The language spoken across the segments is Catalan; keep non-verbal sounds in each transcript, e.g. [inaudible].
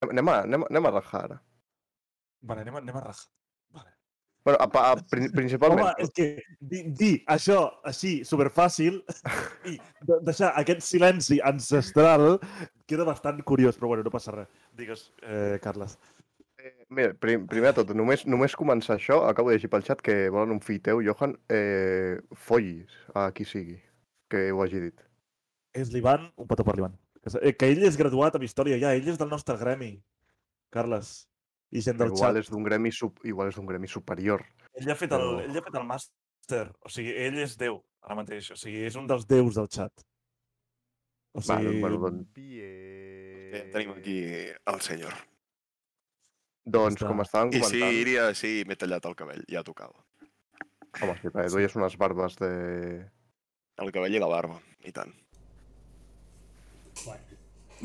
anem, a, anem, anem a rajar ara. Vale, anem, a- anem a rajar. Vale. Bueno, a, pa- a, [laughs] prin- principalment. Home, és que dir, dir això així, [laughs] superfàcil, i de- deixar aquest silenci ancestral queda bastant curiós, però bueno, no passa res. Digues, eh, Carles. Eh, Mira, prim, primer de tot, només, només començar això, acabo de llegir pel xat que volen un fill teu, Johan, eh, follis a qui sigui, que ho hagi dit. És l'Ivan, un petó per l'Ivan. Que, s- eh, que ell és graduat en història ja, ell és del nostre gremi, Carles. I gent del Igual xat. és d'un gremi, sub, igual és d'un gremi superior. Ell ha fet el, Però- ell ha fet el màster. O sigui, ell és Déu, ara mateix. O sigui, és un dels... dels déus del xat. O Sí. Bueno, sigui, bueno, doncs, Bé, tenim aquí el senyor. doncs està. com estàvem I sí, comentant... iria, sí, m'he tallat el cabell, ja tocava. Home, sí, perquè tu ja és unes barbes de... El cabell i la barba, i tant. Bueno.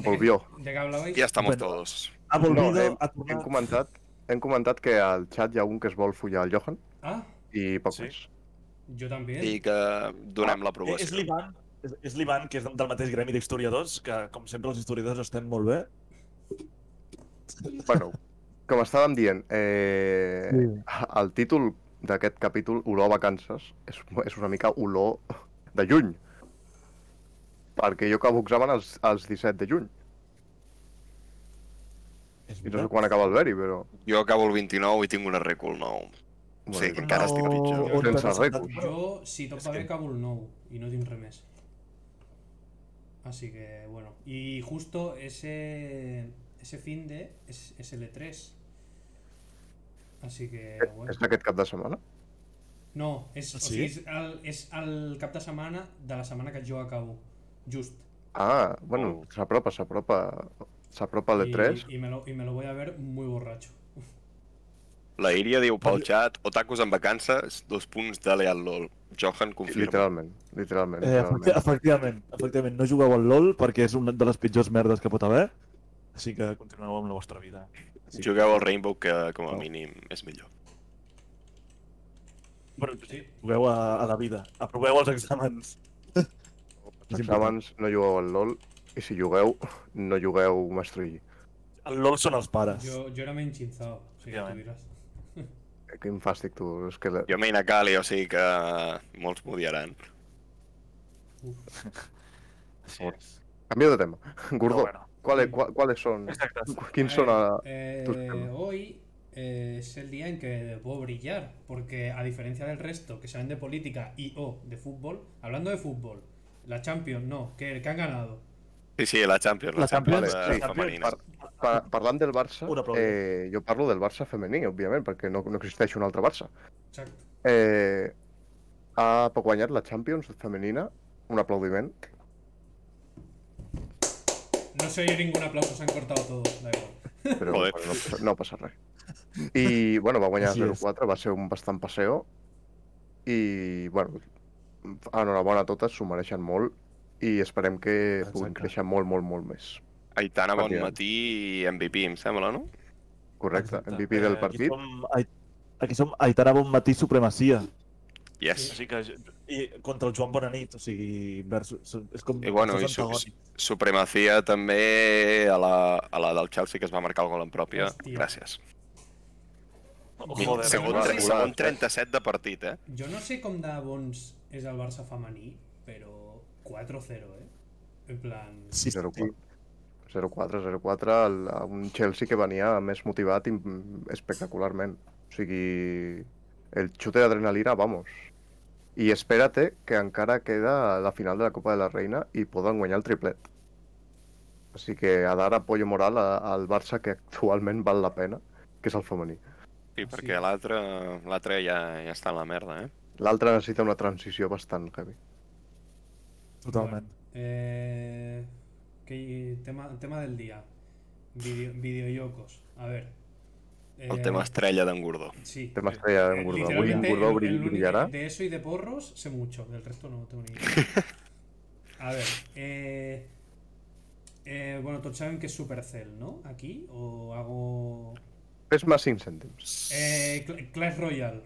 Volvió. ¿De qué hablabais? Ja estamos Bueno. todos. ha volvido, doncs- no, eh, hem- ha Hem tornat... comentat, hem comentat que al xat hi ha un que es vol follar al Johan Ah, i poc Sí. sí. més. yo también. I que donem Eh, És l'aprovació. l'Ivan, és, és l'Ivan, que és del mateix gremi d'historiadors, que com sempre els historiadors estem molt bé. Bueno, com estàvem dient, eh, Sí. el títol d'aquest capítol, Olor a vacances, és, és una mica olor de juny. Perquè jo acabo examen els, els 17 de juny. Eh, És I no sé veritat. quan acaba el veri, però... Jo acabo el 29 i tinc una recul 9. Bueno, Sí, que encara estic No, pitjor. on Sense t'has recursos. sentat? Yo, si topa que- que... cabo el no y no tiene remes. Así que bueno. Y justo ese ese fin de es, es el E3. Así que bueno. És d'aquest cap de setmana? No, és, o Sí? sigui, és, el, és el cap de setmana de la setmana que jo acabo. Just. Ah, bueno, Oh. s'apropa, s'apropa... S'apropa I- l'E3. Y, me lo, y me lo voy a ver muy borracho. La Iria diu pel xat, otakus en vacances, dos punts de Leal LOL. Johan confirma. Literalment, literalment, Eh, efecti- literalment. efectivament, efectivament, no jugueu al LOL perquè és una de les pitjors merdes que pot haver. Així que continueu amb la vostra vida. Sí. Jugueu al Rainbow, que com a Oh. mínim és millor. Però, Sí. jugueu a, a la vida. Aproveu [laughs] els exàmens. Els exàmens no jugueu al LOL i si jugueu, no jugueu Master Yi. Eh, El LOL són els pares. Yo, yo era me enchinzado, si tú Efectivamente. dirás. Quin fàstic, tu. És que... Jo main a Cali, o sigui que molts m'odiaran. Sí. és. Canvio de tema. Però Gordó, bueno, ¿Cuáles, cua- cuáles son? exacte. cu- ¿Quién A son? ver, a- eh, tus temas? hoy eh, es el día en que puedo brillar, porque a diferencia del resto que saben de política y o de fútbol, hablando de fútbol, la Champions, no, que, que han ganado. Sí, sí, la Champions, la, La Champions, Champions, Champions sí. femenina. Per- Pa- parlant del Barça, Un aplaudiment. eh, jo parlo del Barça femení, òbviament, perquè no, no existeix un altre Barça. Exacto. Eh, ha poc guanyat la Champions femenina, un aplaudiment. No se oye ningún aplauso, se han cortado todo, da igual. però Joder. bueno, no, passa, no passa res. I, bueno, va guanyar Així és. 0-4, va ser un bastant passeo, i, bueno, enhorabona a totes, s'ho mereixen molt, i esperem que puguin Exacte. créixer molt, molt, molt més. Aitana, bon Efectivament. matí i MVP, em sembla, no? Correcte, Exacte. MVP del partit. Eh, Aquí som, Ai- aquí som Aitana Bon Matí Supremacia. Yes. Així que, i contra el Joan Bonanit, o sigui, versus, és com... I bueno, i versus su antagònic. supremacia també a la, a la del Chelsea, que es va marcar el gol en pròpia. Hòstia. Gràcies. Joder, segon, regular, tre- regular, segon eh? 37 de partit, eh? Yo no sé cómo da Bons es al Barça femení, pero 4-0, ¿eh? En plan... Sí, sí, 0-4, 0-4, el- a un Chelsea que venia més motivat i mm, espectacularment. O sigui, el xute d'adrenalina, vamos. I espérate que encara queda la final de la Copa de la Reina i poden guanyar el triplet. Així que a dar apoyo moral a- al Barça que actualment val la pena, que és el femení. Sí, Ah, perquè sí. l'altre l'altre ja, ja està en la merda, eh? L'altre necessita una transició bastant heavy. totalment. Eh, que- tema, tema del día. Video, videoyocos. A ver. El Eh, tema estrella d'en Gordó. Sí. Té estrella Eh, d'en Gordó. Avui en literalmente, Gordó el- el brill- único- brillarà. De eso y de porros sé mucho, del resto no tengo ni idea. A ver, eh, eh, bueno, todos saben que es Supercell, ¿no? Aquí, o hago... Fes más 5 cèntims. Eh, Cl- Clash Royale.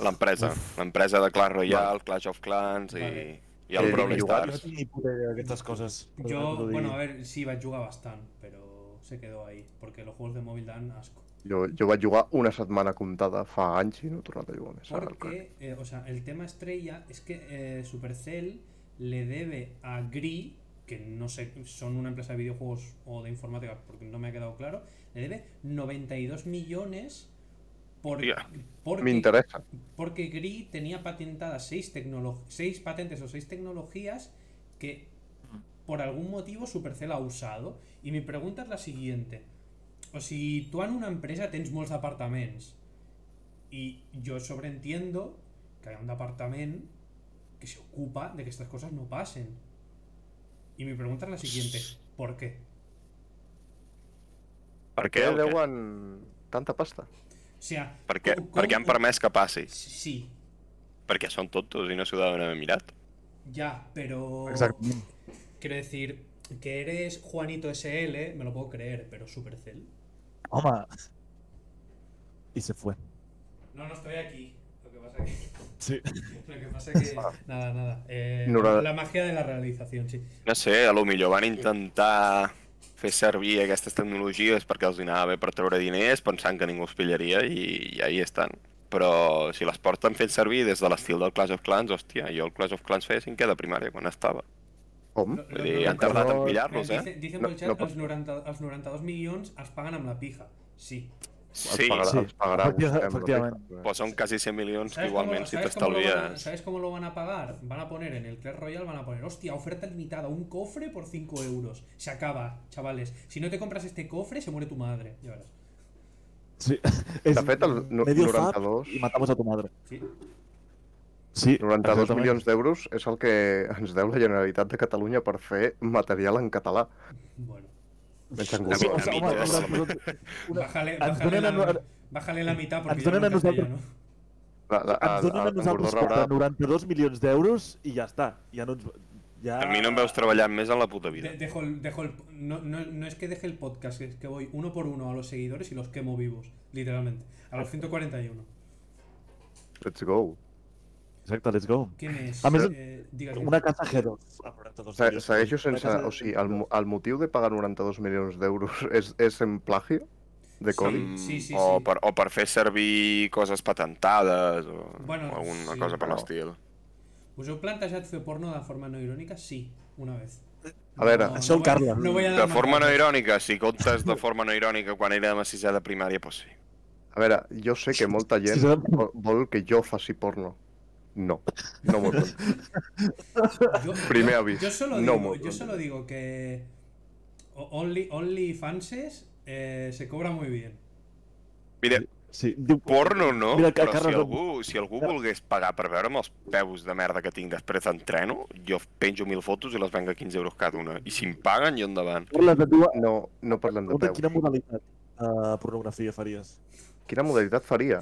L'empresa. L'empresa de Clash Royale, Clash of Clans i, Vale. i el Eh, Brawl jo- Jo no Stars. tinc ni puta idea d'aquestes coses. Yo, bueno, a ver, sí, va a jugar bastante, pero... se quedó ahí, porque los juegos de móvil dan asco. Jo, jo vaig jugar una setmana comptada fa anys i no he tornat a jugar més. ara al crack. Porque, eh, o sea, el tema estrella es que eh, Supercell le debe a Gris, que no sé, son una empresa de videojuegos o de informática, porque no me ha quedado claro, le debe 92 millones por, Hostia, porque, M'interessa. porque Gris tenía patentadas seis, tecnolo- seis patentes o seis tecnologías que por algún motivo Supercell ha usado. I mi pregunta és la siguiente. O sigui, tu en una empresa tens molts departaments i jo sobreentiendo que hi ha un departament que se ocupa de que estas cosas no pasen. Y mi pregunta es la siguiente, ¿por qué? Per Què què? o què? deuen tanta pasta? O sea, Per què, com- per què com- han permès que passi? Sí, Perquè són tontos i no s'ho deuen haver mirat. ya, pero... Exactament. Quiero decir, que eres Juanito SL, me lo puedo creer, pero Supercell. Home. I se fue. No, no estoy aquí. Lo que pasa que... [laughs] Sí. Lo que pasa que... Nada, nada. Eh, Ignorada. La magia de la realización, sí. No sé, a lo millor van intentar fer servir aquestes tecnologies perquè els hi anava bé per treure diners pensant que ningú els pillaria i, i ahí estan. Però si les porten fent servir des de l'estil del Clash of Clans, hòstia, jo el Clash of Clans feia cinquè de primària quan estava. Com? No, Vull dir, han no, tardat en no. pillar-los, eh? Dicen, dicen No, por el chat, no pot- els, 90, els 92 milions es paguen amb la pija. Sí. Els Sí, pagarà, Sí, els pagarà. efectiva- vostè amb la efectivament. pizza, eh? però són quasi 100 milions que ¿Sabes cómo- igualment si sabes cómo lo van a- t'estalvies... ¿Sabes cómo lo van a pagar? Van a poner en el Clash Royale, van a poner, hostia, oferta limitada, un cofre por 5 euros. Se acaba, chavales. Si no te compras este cofre, se muere tu madre. Ya verás. [laughs] sí. És De fet, el no- medio fab 92, i matamos a tu madre. Sí. Sí, 92 exactament. milions d'euros és el que ens deu la Generalitat de Catalunya per fer material en català. Bueno. Menys en Una Sí, Google. mica, o sigui, una mica, home, una mica. Una- Bájale, ens bájale, donen la, a- bájale la mitad porque ens yo donen hablo a nosaltres- castellano. La, la, ens donen a en nosaltres Gordó rebrà- quatre 92 milions d'euros i ja està. Ja no ens... Ja... A mi no em veus treballant més en la puta vida. De- dejo el, dejo el- no, no- no es que deje el podcast, es que voy uno por uno a los seguidores y los quemo vivos, literalmente. A los 141. Let's go. Exacte, let's go. ¿Quién es? A més, Eh, diga quién. Ah, Una casa G2. a 92 Se, milions. segueixo Una sense... casa de- O sigui, el, mo- el motiu de pagar 92 milions d'euros és, és en plagio de codi? Sí, sí, sí, o, sí. Per, o per fer servir coses patentades o, Bueno, o alguna sí, cosa per però- l'estil. ¿Us heu plantejat fer porno de forma no irónica? Sí, una vez. A veure, Això ho voy- Carles. No voy a dar De más forma no datos. irònica, si comptes de forma no irònica quan érem a sisè de primària, doncs sí. a veure, jo sé que molta gent Sí, sí. vo- vol que jo faci porno. No, no m'ho plantege. Yo, Primer yo- aviso, Yo solo no digo, muy yo solo digo que o- Only, only Fanses eh, se cobra muy bien. Mira, Sí, diu... porno no, Mira, que però si Carles- algú, si algú volgués pagar per veure'm els peus de merda que tinc després d'entreno, jo penjo mil fotos i les venc a 15 euros cada una. I si em paguen, jo endavant. Carles, et diu... No, no parlem de Pregunta peus. quina modalitat de pornografia faries. Quina modalitat faria?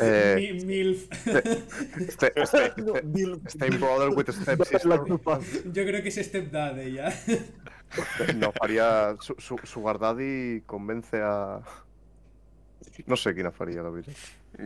Eh, [laughs] Mi- milf. este, este, [laughs] este, Bill... Stay brother with step sister. Yo creo que es Step Dad ya. No, faria... Su, su, Sugar Daddy convence a... No sé quina faria, la veritat.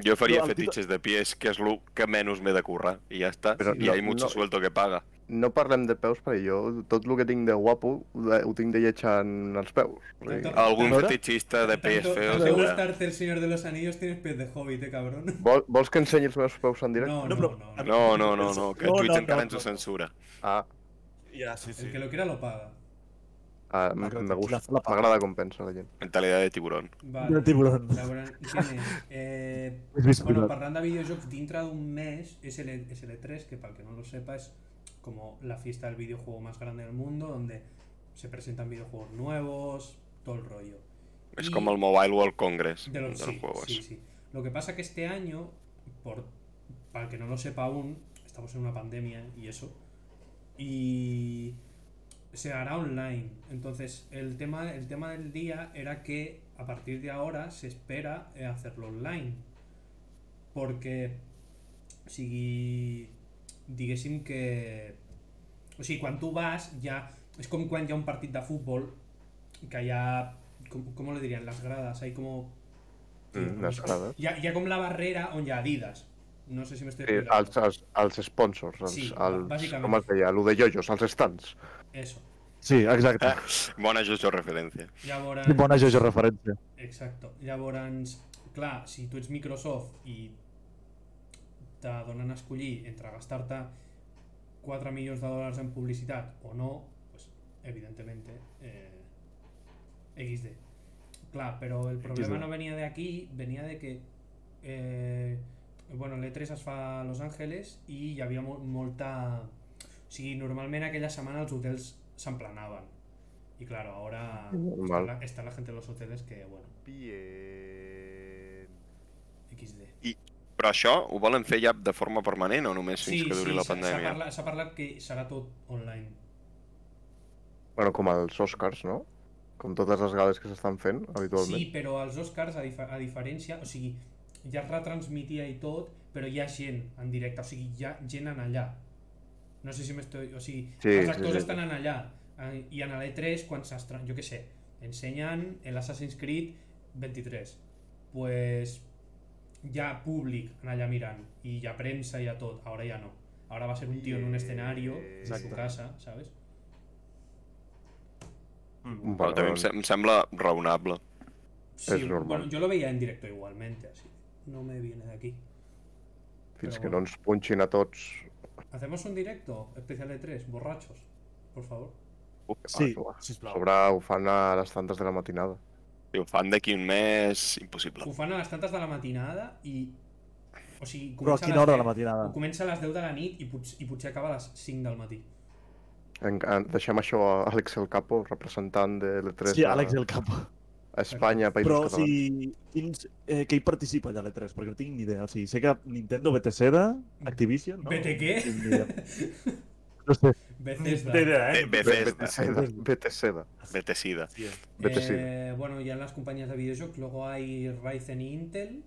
Jo faria No, el fetitxes de pies, que és el que menys m'he de currar. I ja està. Però I no- hi ha mucho no- sueldo que paga. No parlem de peus, perquè jo tot el que tinc de guapo de- ho tinc de lleig en els peus. O sigui, Tanto- Algun Veure? fetitxista de pies tanto- feos. tanto hi haurà. gustarte el Señor de los Anillos tienes pies de hobbit, eh, cabrón. [laughs] ah, vol, vols que ensenyi els meus peus en directe? No, no, No, no. però- no. No, no, no, no, que No, Twitch no, encara no, ens ho no. censura. Ah, Ya, sí, sí. El que lo quiera lo paga. ah La- me gusta. la- la- M'agrada com pensa la gent. Mentalidad de tiburón. Vale. De [laughs] tiburón. Cabrón, ¿quién és? Eh, És Luis bueno, Vidal. parlant de videojocs, dintre d'un mes es el, E, es el E3, que para el que no lo sepa es como la fiesta del videojuego más grande del mundo, donde se presentan videojuegos nuevos, todo el rollo. Es Y- como el Mobile World Congress de de los, los, sí, juegos. sí, sí. Lo que pasa que este año, por, para el que no lo sepa aún, estamos en una pandemia y eso. Y se hará online. Entonces, el tema, el tema del día era que a partir de ahora se espera eh, hacerlo online. Porque si diguéssim que... O sigui, quan tu vas ja... És com quan hi ha un partit de futbol que hi ha... Com, com lo dirien? Les grades. Hay como... Mm, les grades. Hi ha, hi ha com la barrera on hi ha Adidas. No sé si m'estic Eh, els, els, els sponsors, els, Sí, els, bàsicament. com es deia, el de jojos, els stands. Eso. Sí, exacte. Ah. Bona justo referència. Llavors, Bona Jojo referència. Exacte. Llavors, clar, si tu ets Microsoft i te donen a escollir entre gastar-te 4 milions de dòlars en publicitat o no, pues, evidentment, eh, XD. Clar, però el problema XD. no venia de aquí, venia de que eh, bueno, l'E3 es fa a Los Angeles i hi havia mo molta... O sigui, normalment aquella setmana els hotels s'emplanaven. I claro, ahora está Normal. la, está la gente en los hoteles que, bueno, Bien. XD. Però això ho volen fer ja de forma permanent o només fins Sí, que duri sí, la s'ha s'ha pandèmia? parlat, s'ha parlat que serà tot online. Bueno, com els Oscars, no? Com totes les gales que s'estan fent habitualment. Sí, però els Oscars, a, dife- a diferència, o sigui, ja es retransmitia i tot, però hi ha gent en directe, o sigui, hi ha gent en allà. No sé si m'estoy... O sigui, Sí, els sí, actors sí, sí. estan en allà. eh, I en l'E3, quan s'estran... Jo què sé, ensenyen l'Assassin's Creed 23. Pues hi ha públic en allà mirant, i hi ha premsa i hi ha tot, ara ja no. Ara va ser un tio en un escenario, en su Exacte. casa, ¿sabes? Mm. Mm. Bueno, Però també em, se- em sembla raonable. Sí, Es normal. Bueno, yo lo veía en directo igualmente, así. No me viene de aquí. Fins però que bueno. no ens punxin a tots. ¿Hacemos un directo especial de tres, borrachos? Por favor. Sí, Ah, sisplau. Sobre ho fan a les tantes de la matinada. Si ho fan d'aquí un mes, impossible. Ufana a las tantas de la matinada y... O sigui, Però a comença quina les hora de la deu- matinada? Comença a les 10 de la nit i, pots, i potser acaba a les 5 del matí. En, en, deixem això a Àlex El Capo, representant de l'E3 Sí, a- Àlex del Campo. a Espanya, Països Però Catalans. si... Quins, eh, que hi participa allà l'E3? Perquè no tinc ni idea. O sigui, sé que Nintendo, Bethesda, Activision... No? ¿Vete qué? No tinc ni idea. [laughs] No sé. [laughs] Bethesda. Té idea, eh? Bé, bé, Be- Bethesda. Bethesda. Bethesda. Betesida. Bethesda. Eh, bueno, ya en las compañías de videojuegos, luego hay Ryzen y Intel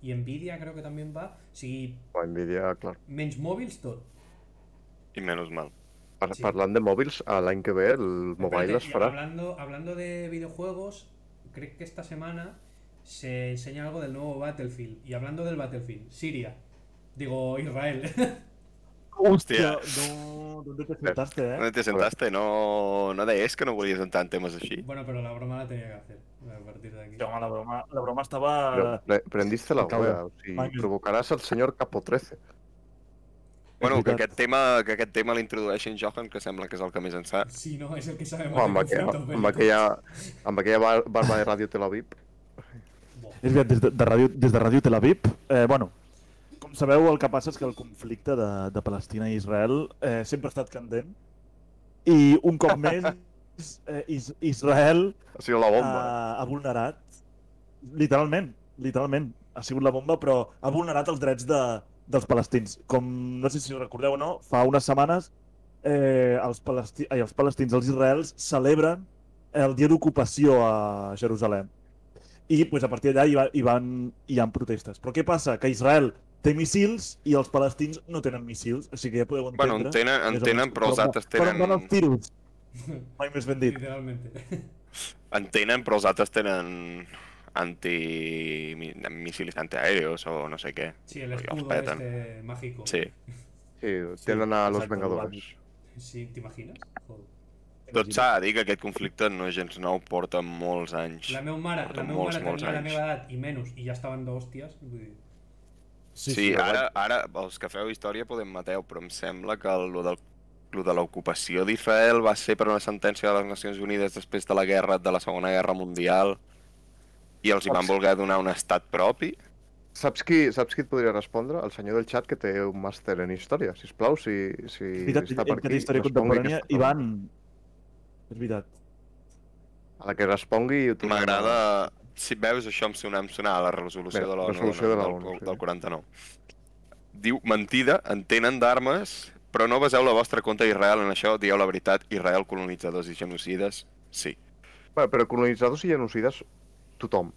y Nvidia creo que también va. Sí, O Nvidia, clar. menys mòbils tot. I menys mal. Par- Sí. Parlant de mòbils, a l'any que ve el mobile Espérate, es y farà. Hablando, hablando de videojuegos, creo que esta semana se enseña algo del nuevo Battlefield. Y hablando del Battlefield, Siria. Digo, Israel. [laughs] Hòstia. No, ¿dónde te sentaste, eh? No te sentaste, no, no deies que no volies entrar en temes així. bueno, pero la broma la tenía que hacer a partir de aquí. Hòstia, home, la broma, la broma estava... Però pre- prendiste la Cabrón. wea, o sigui, Magnus. provocaràs el senyor Capo 13. Bueno, que veritat. aquest tema, que aquest tema l'introdueixin Johan, que sembla que és el que més en sap. Sí, no, es el que sabe más. O amb, de aquella, conflictos amb, bélicos. aquella, amb aquella bar- barba de Ràdio Tel Aviv. Buah. És veritat, des de, de ràdio, des de Ràdio Tel Aviv, eh, bueno, com sabeu, el que passa és que el conflicte de, de Palestina i Israel eh, sempre ha estat candent. I un [laughs] cop més, eh, Is Israel Ha sido la bomba. Eh, ha, ha vulnerat, literalment, literalment, ha sigut la bomba, però ha vulnerat els drets de, dels palestins. Com, no sé si ho recordeu o no, fa unes setmanes eh, els, palesti ai, els palestins, els israels, celebren el dia d'ocupació a Jerusalem. I pues, a partir d'allà hi, va, hi, van, hi han protestes. Però què passa? Que Israel té missils i els palestins no tenen missils, o sigui que ja podeu entendre... Bueno, en tenen, en més o tenen menys però els per on- altres Per on van tenen... els tiros? Mai més ben dit. Literalmente. [laughs] En tenen, però els altres tenen anti... mi- míssils antiaèreos o no sé què. Sí, el Los escudo petan. este mágico. Sí. Sí, tenen a los exacte, Vengadores. Sí, ¿te imaginas? Joder. Tot Doncs s'ha de dir que aquest conflicte no és gens nou, porta molts anys. La meva mare, la Porten meva molts, mare molts tenia la anys. meva edat i menys, i ja estaven d'hòsties. Vull dir, Sí, ara, ara els que feu història podem mateu, però em sembla que el, lo del lo de l'ocupació d'Israel va ser per una sentència de les Nacions Unides després de la guerra de la Segona Guerra Mundial i els hi van voler donar un estat propi. Saps qui, saps qui et podria respondre? El senyor del chat que té un màster en història, si plau, si, si veritat, està per que té aquí. història respongui contemporània, aquesta pregunta. Ivan... És veritat. A la que respongui... ho tornem a- M'agrada... Si veus això em sonar, em sonar a la resolució Bé, de l'ONU resolució de la del, ONU, sí. del 49. Diu, mentida, en tenen d'armes, però no baseu la vostra contra Israel en això, dieu la veritat, Israel colonitzadors i genocides, sí. Bueno, però colonitzadors i genocides, tothom.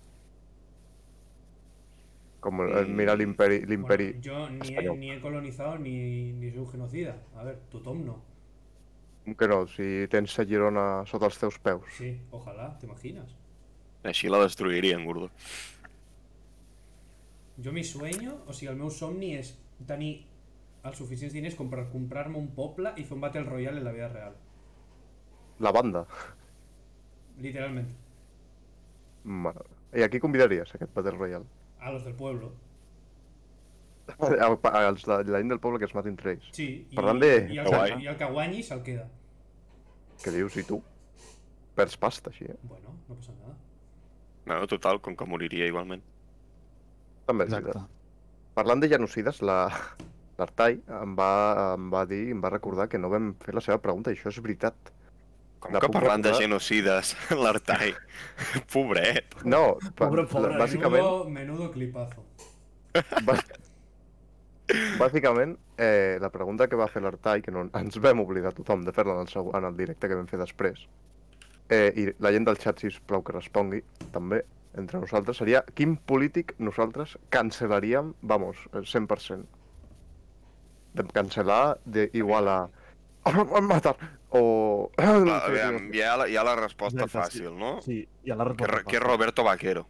Com el, el, mira l'imperi... l'imperi... Bueno, yo ni he, español. ni he colonizado ni, ni soy un genocida. A ver, tu Tom no. Que no, si tens a Girona sota els teus peus. Sí, ojalá, ¿te imaginas? Així la destruirien, gordo. Jo mi sueño, o sigui, el meu somni és tenir els suficients diners com per comprar-me un poble i fer un Battle Royale en la vida real. La banda. literalmente. Bueno, I aquí convidaries aquest Battle Royale? A los del pueblo. [laughs] Oh. Al- Als de la gent del poble que es matin entre ells. Sí. Y, Parlant de y al, Kawaii. y al Kawaii se'l queda. Què dius? I tu? Perds pasta, així, eh? Bueno, no pasa nada. No, total, com que moriria igualment. També és veritat. Exacte. Parlant de genocides, la... [laughs] l'Artai em, va, em va dir, em va recordar que no vam fer la seva pregunta, i això és veritat. Com La que puc parlant de recordar? genocides, [laughs] l'Artai, [laughs] pobret. No, pa- Pobre, pobre, eh? la- bàsicament... Menudo, menudo clipazo. Bàs- Bàsicament, eh, la pregunta que va fer l'Artai, que no, ens vam oblidar tothom de fer-la en, el segu- en el directe que vam fer després, eh, i la gent del xat, sisplau, que respongui, també, entre nosaltres, seria quin polític nosaltres cancel·laríem, vamos, eh, el 100%. De cancel·lar de igual a... "Em van matar! O... [clears throat] Va, aviam, hi ha, la- hi ha la resposta Exacte, sí. fàcil, no? Sí, i a la Que, resposta. re- que és Roberto Vaquero.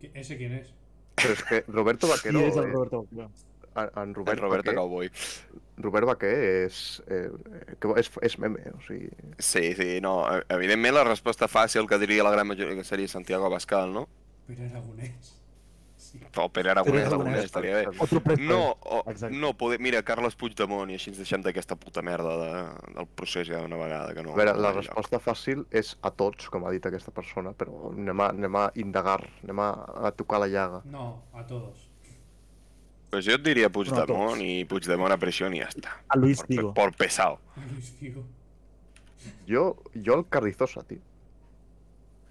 ¿Qui- ¿Ese quién es? Però és que Roberto Qui Vaquero... és el eh, Roberto Vaquero? en, en El Robert, Roberto Vaquer, Cowboy. Robert Vaquer és, eh, que és, és meme, o sigui... Sí, sí, no. e- Evidentment la resposta fàcil que diria la gran majoria que seria Santiago Abascal, no? Pere Aragonés. Sí. O Pere Pere Aragonès, Aragonès. Aragonès, estaria bé. Otro presto. No, o, Exacte. no poder... Mira, Carles Puigdemont, i així ens deixem d'aquesta puta merda de, del procés ja d'una vegada, que no... A veure, la no, resposta fàcil és a tots, com ha dit aquesta persona, però anem a, anem a indagar, anem a, a tocar la llaga. No, a todos. Pues jo et diria Però a Puigdemont tots. i Puigdemont a presión i ja està. A Luis Por, pe- Figo. por pesado. A Luis Figo. Jo, jo el Carrizosa, tio.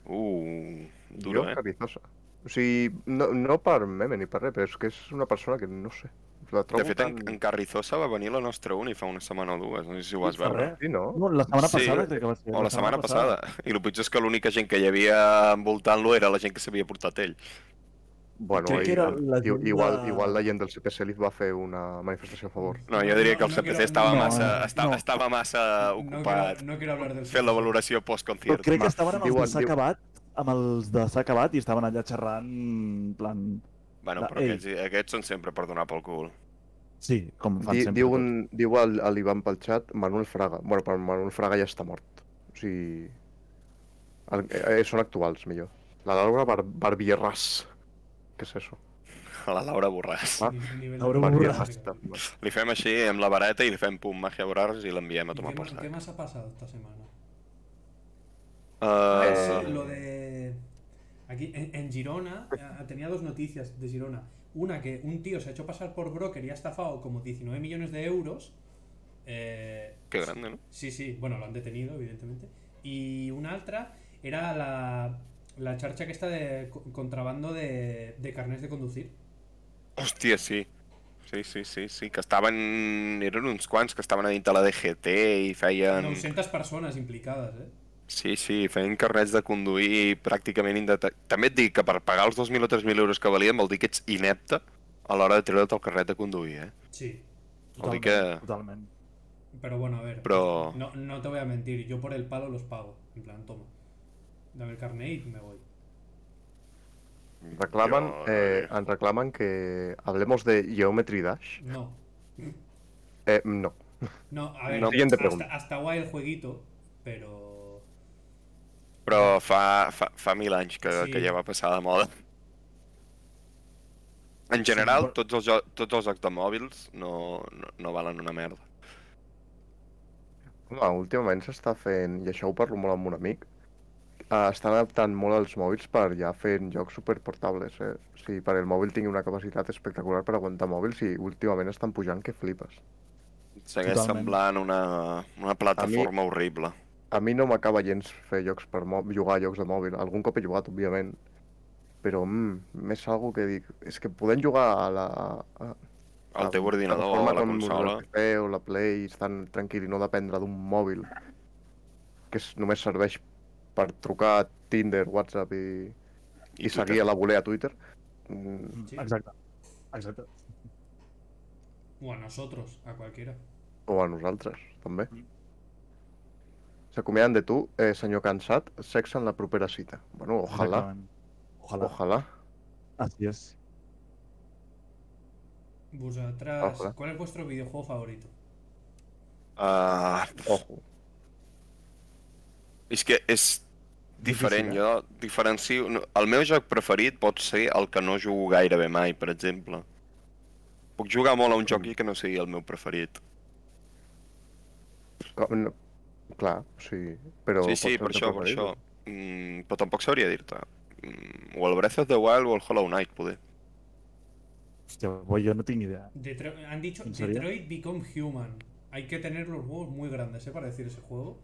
Uh, jo duro, el eh? Carrizosa. O sigui, no, no per meme ni per res, però és que és una persona que no sé. La trobo De fet, en, en Carrizosa va venir la nostra uni fa una setmana o dues, no sé si ho vas Fa veure. res. Sí, no? No, la setmana Sí, passada crec que va ser. O la setmana passada. I el pitjor és que l'única gent que hi havia envoltant-lo era la gent que s'havia portat ell. Bueno, crec que i- era la gent i, igual, de- igual la gent del CPC li va fer una manifestació a favor. No, jo diria No, que el no quiero- CPC estava no, massa, no. estava, estava massa No ocupat quiero, no quiero hablar del fent la valoració Però post-concert. crec que estaven amb els Diuen- de s'ha diu- acabat, amb els de s'ha acabat i estaven allà xerrant, en plan... Bueno, però Ei. aquests, aquests són sempre per donar pel cul. [laughs] Sí, com fan Di, sempre. diu tots. un, diu al, a l'Ivan pel xat Manuel Fraga. Bueno, però Manuel Fraga ja està mort. O sigui... El, eh, eh, són actuals, millor. La Laura Bar Barbierras. Què és això? A la Laura Borràs. Ah. Ni- nivel de- Ahora Laura un Barbierras. ¿Y també. Li fem així amb la vareta i li fem pum, màgia Borràs i l'enviem a qué tomar ma- per ¿Qué, sac. más ha pasado esta semana? Ah, Es Eh. lo de. Aquí en, en Girona eh, tenía dos noticias de Girona. Una que un tío se ha hecho pasar por broker y ha estafado como 19 millones de euros. Eh, que grande, no? Sí, sí, bueno, lo han detenido, evidentemente. Y una otra era la, la charcha que está de co- contrabando de, de carnés de conducir. Hòstia, sí. Sí, sí, sí, sí, que estaven... Eren uns quants que estaven a dintre la DGT i feien... 900 personas implicadas, ¿eh? Sí, sí, feien carnets de conduir pràcticament indete... També et dic que per pagar els 2.000 o 3.000 euros que valien vol dir que ets inepte a l'hora de treure't el carnet de conduir, eh? Sí. Vol Doncs dir que... Totalment. Pero bueno, a ver. Però... No, no te voy a mentir, yo por el palo los pago. En plan, toma. Dame el carnet y me voy. Reclamen, Jo, eh, ens reclamen que hablemos de Geometry Dash. No. Eh, no. No, a ver, No, siguiente hasta, pregunta. hasta guay el jueguito, pero. Però fa, fa, fa mil anys que, Sí. sí. que ja va passar de moda. En general, però- tots els, jo- tots els jocs de mòbils no, no, no valen una merda. Home, últimament s'està fent, i això ho parlo molt amb un amic, eh, estan adaptant molt els mòbils per ja fer jocs superportables, eh? O sigui, per el mòbil tingui una capacitat espectacular per aguantar mòbils i últimament estan pujant que flipes. Segueix Totalment. semblant una, una plataforma horrible. A mi no m'acaba gens fer jocs per mò... jugar a jocs de mòbil. Algun cop he jugat, òbviament. Però mm, és algo que dic... És que podem jugar a la... A, a El teu la ordinador, plataforma la com consola... El PC o la Play, estan tranquil i no dependre d'un mòbil que és, només serveix per trucar a Tinder, WhatsApp i, i, Twitter. seguir a la voler a Twitter. Mm, Sí. Exacte. Exacte. O a nosotros, a cualquiera. o a nosaltres, també. Mm. S'acomiaden de tu, eh, senyor cansat, sexe en la propera cita. Bueno, ojalà, Exactament. Ojalà. ojalá. Així és. Vosotras. Ojalá. Oh. ¿Cuál es vuestro videojuego favorito? Ah, Ojo. És que és diferent, eh? Difícil, jo diferencio... no, El meu joc preferit pot ser el que no jugo gairebé mai, per exemple. Puc jugar molt a un Mm. joc i que no sigui el meu preferit. Com, no, clar, o sigui, però... sí, sí, per pot ser eh? el teu això, per preferit. això. Mm, però tampoc sabria dir-te. Mm, o el Breath of the Wild o el Hollow Knight, poder. Hòstia, bo, jo no tinc ni idea. Detro- han dicho ¿En serio? Detroit Become Human. Hay que tener los huevos muy grandes, ¿eh? Para decir ese juego.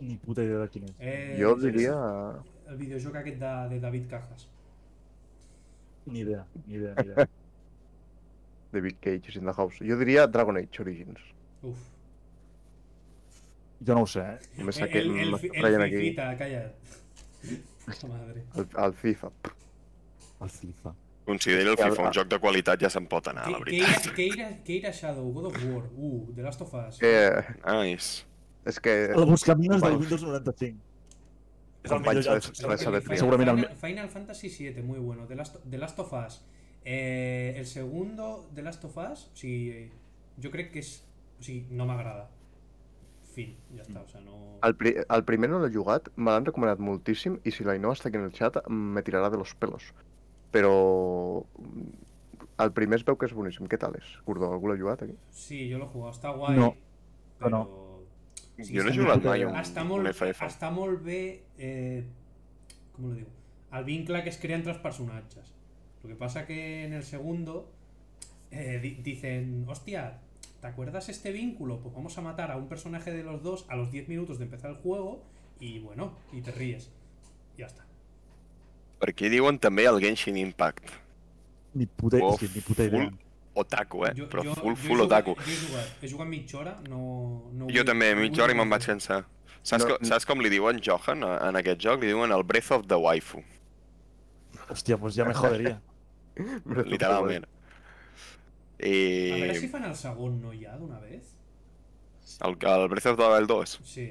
Ni puta idea de quin és. Eh, Jo és diria... El videojoc aquest de, de David Cajas. Ni idea, ni idea, ni idea. David Cage is in the house. Jo diria Dragon Age Origins. Uf. Jo no ho sé, eh? Me saqué, el, el, me fi- el traen aquí fifita, calla. [laughs] Puta madre. al, al FIFA. El FIFA. Considero el Sí, el- FIFA un joc de qualitat, ja se'n pot anar, la Ke- veritat. Keira, Keira, Keira Shadow, God of War, uh, The Last of Us. Eh, Nice. és que El buscamines del Val. Windows 95. És el Companys, millor joc. res- sincerament. res a decir. Seguramente Final, Final Fantasy VII, muy bueno. The Last, The Last of Us. Eh, el segundo, The Last of Us, sí, yo creo que es. Sí, no me agrada. Fin, ya está. O sea, no. el, pri el primer no l'he jugat, me l'han recomanat moltíssim i si l'Ainhoa està aquí en el xat me tirarà de los pelos. Però mm, el primer es veu que és boníssim. Què tal és, Gordó? Algú l'ha jugat aquí? Sí, yo lo he jugado. Está guay. No, pero. Sí, Jo no he sí, jugat sí. mai a un, hasta un molt, FF. hasta molt bé eh, com lo digo el vincle que es crea entre els personatges lo que pasa que en el segundo eh, di- dicen hostia ¿te acuerdas este vínculo? pues vamos a matar a un personaje de los dos a los 10 minutos de empezar el juego y bueno y te ríes ya está Per aquí diuen també el Genshin Impact. Ni puta, Wow, és que ni puta idea. full otaku, eh? Yo- Però yo- full, yo he full jugat- otaku. jo he jugat, he jugat mitja hora no, no Jo vull- també, no mitja vull hora i me'n jugar. vaig cansar. Saps, No, no, no. saps com li diuen Johan a- en aquest joc? Li diuen el Breath of the Waifu, Hòstia, pues ja me joderia. literalment. a I veure si fan el segon no ja d'una vez el, el Breath of the Wild 2. sí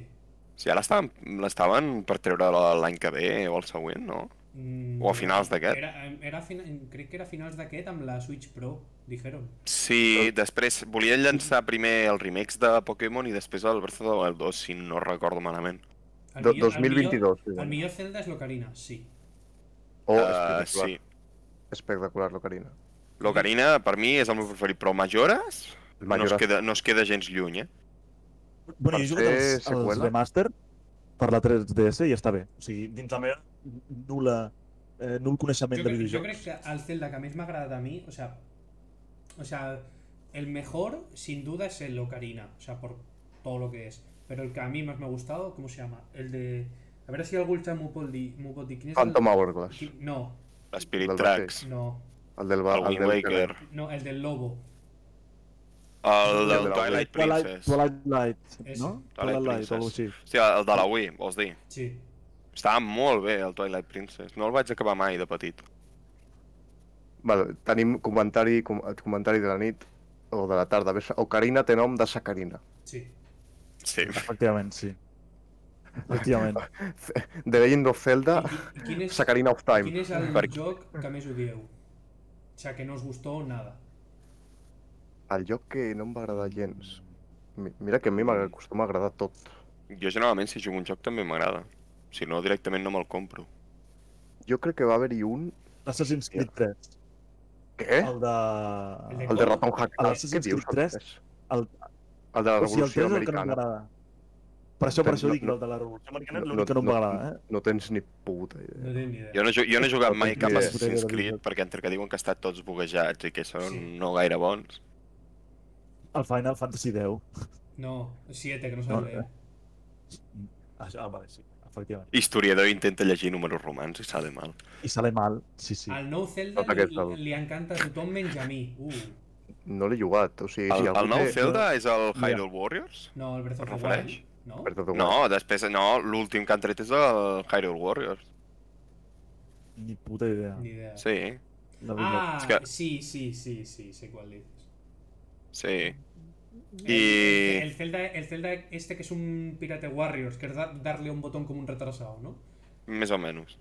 Si ara estaven, l'estaven per treure l'any que ve o el següent, no? Mm, O a finals d'aquest. Era, era fina, crec que era finals d'aquest amb la Switch Pro, dijeron. Sí, després volien llançar primer els remakes de Pokémon i després el Breath of the Wild 2, si no recordo malament. El Do- millor- el millor- 2022. El diuen. millor Zelda és l'Ocarina, sí. Oh, Uh, espectacular, Oh, sí. espectacular l'Ocarina. L'Ocarina, per mi, és el meu preferit, però Majora's, El no es, Majora's queda, no es queda gens lluny, eh? Bueno, Per jo he jugat fer als, als seqüela? remaster per la 3DS i està bé. O sigui, dins la meva nula, eh, nul coneixement Jo, de crec- jo videojocs. crec que el Zelda que més m'ha agradat a mi, o sea, o sea, el mejor sin duda es el Ocarina, o sea, por todo lo que es. Pero el que a mí más me ha gustado, ¿cómo se llama? El de... A ver si algú el xat m'ho pot dir. m'ho pot dir. Quin és el- Phantom Hourglass. qui- No, L'Spirit Del Tracks, no, El del bar, el Wind Waker, no, el del lobo. el El del de la Twilight Twilight, Princess. Twilight Light, Ese. no? Twilight Twilight Light, Princess. o alguna així. Hòstia, el de la Wii, vols dir? Sí. Estava molt bé, el Twilight Princess. No el vaig acabar mai, de petit. Vale, tenim comentari, com, comentari de la nit o de la tarda. Ves- Ocarina té nom de Sacarina. Sí. Sí. Efectivament, sí. Efectivament. The Legend of Zelda, I, i quin és- Sacarina of Quin Time. és el Per- joc que més odieu? O sea, que no us gustó nada. El joc que no em va agradar gens. Mi- Mira que a mi m'acostuma a agradar tot. Jo generalment, si jugo un joc, també m'agrada. Si no, directament no me'l compro. Jo crec que va haver-hi un... Assassin's Creed 3. Què? El de... El de- El de Raton Hack. A l'Assassin's Creed tres, El... el- el de la O sigui, el 3 Revolució és el que no Americana. m'agrada. Per això, per No- això dic no- el de la Revolució Americana, no- és l'únic que no em no- va agradar, eh? No tens ni puta No idea. tinc ni idea. Jo no, ju- jo no he jugat No mai tinc cap ni idea. Assassin's Creed, Veritat. perquè entre que diuen que estan tots buguejats i que són Sí. no gaire bons... El Final Fantasy X. No, 7, que no sabeu. No, Això, ah, vale, sí, efectivament. Historiador intenta llegir números romans i sale mal. I sale mal, sí, sí. Al nou Zelda Tot aquest li, el- li encanta a tothom menys a mi. Uh, No l'he jugat, o sigui... El, si algú el nou té- Zelda és el Hyrule Warriors? no, el Breath of the Es Wild. refereix? No? Perdó, perdó. No, després no, l'últim que han tret és el Hyrule Warriors. Ni puta idea. Ni idea. Sí, La veritat. Ah, És que- sí, sí, sí, sí, sé cuál dices. sí. El- I... El, Zelda, el Zelda este que es un Pirate Warriors, que es da- darle un botón como un retrasado, ¿no? Més o menys.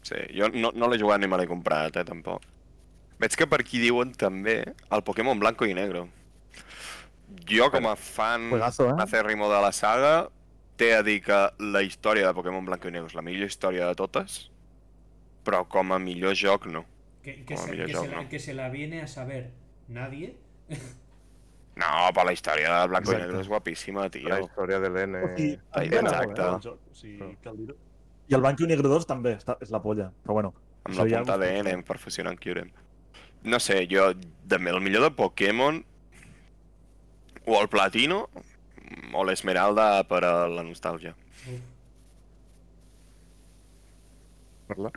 Sí, jo no, no l'he jugat ni me l'he comprat, eh, tampoc. Veig que per aquí diuen també el Pokémon Blanco i Negro. Jo, com a fan Juegazo, eh? acérrimo de la saga, té a dir que la història de Pokémon Blanc i Negro és la millor història de totes, però com a millor joc no. Que, que Bueno, se, mira, que ya se la, no. que se la viene a saber nadie. No, però la història de Blanc i Exacte. Negro és guapísima, La tio. història de l'N... O sigui, a mi exacte. m'agrada molt el joc, o sigui, cal dir-ho. I el Banco Negro 2 també està, és la polla, però bueno. Amb la Seria punta algo de especial. Enem per fusionar amb Kyurem. No sé, jo... També el millor de Pokémon... O el Platino, o l'Esmeralda per a la nostàlgia. Uf, parlar.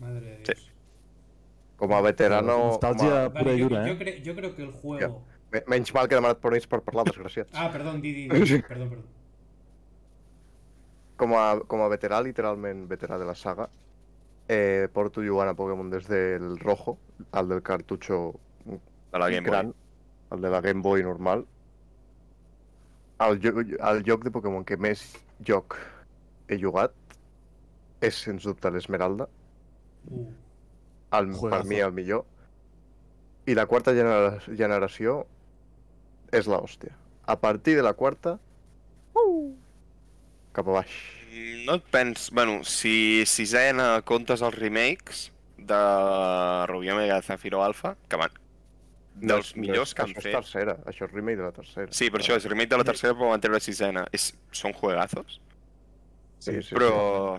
madre de Sí. Dios. Com a veterano... Nostàlgia home, pura Vale, i yo, dura, yo eh? cre- yo creo que el juego. me- Menys mal que he demanat permís per parlar, desgraciat. Ah, perdón, Didi. [laughs] Didi, Perdón, perdón. com a, com a veterà, literalment veterà de la saga, eh, porto jugant a Pokémon des del rojo, al del cartutxo De la Game Boy. gran, el de la Game Boy normal, el, jo- el joc de Pokémon que més joc he jugat és, sens dubte, l'Esmeralda, Uh, el- per Juegazo. mi el millor, i la quarta genera generació és la hòstia. A partir de la quarta, uh, cap a baix. Mm, No et pens... Bueno, si sisena comptes els remakes de Rubí Omega Zafiro Alpha, que van... Dels és- millors que han això fet. Això és tercera, això és remake de la tercera. Sí, per això és remake de la tercera, però van treure sisena. És... Són juegazos, Sí, sí, però...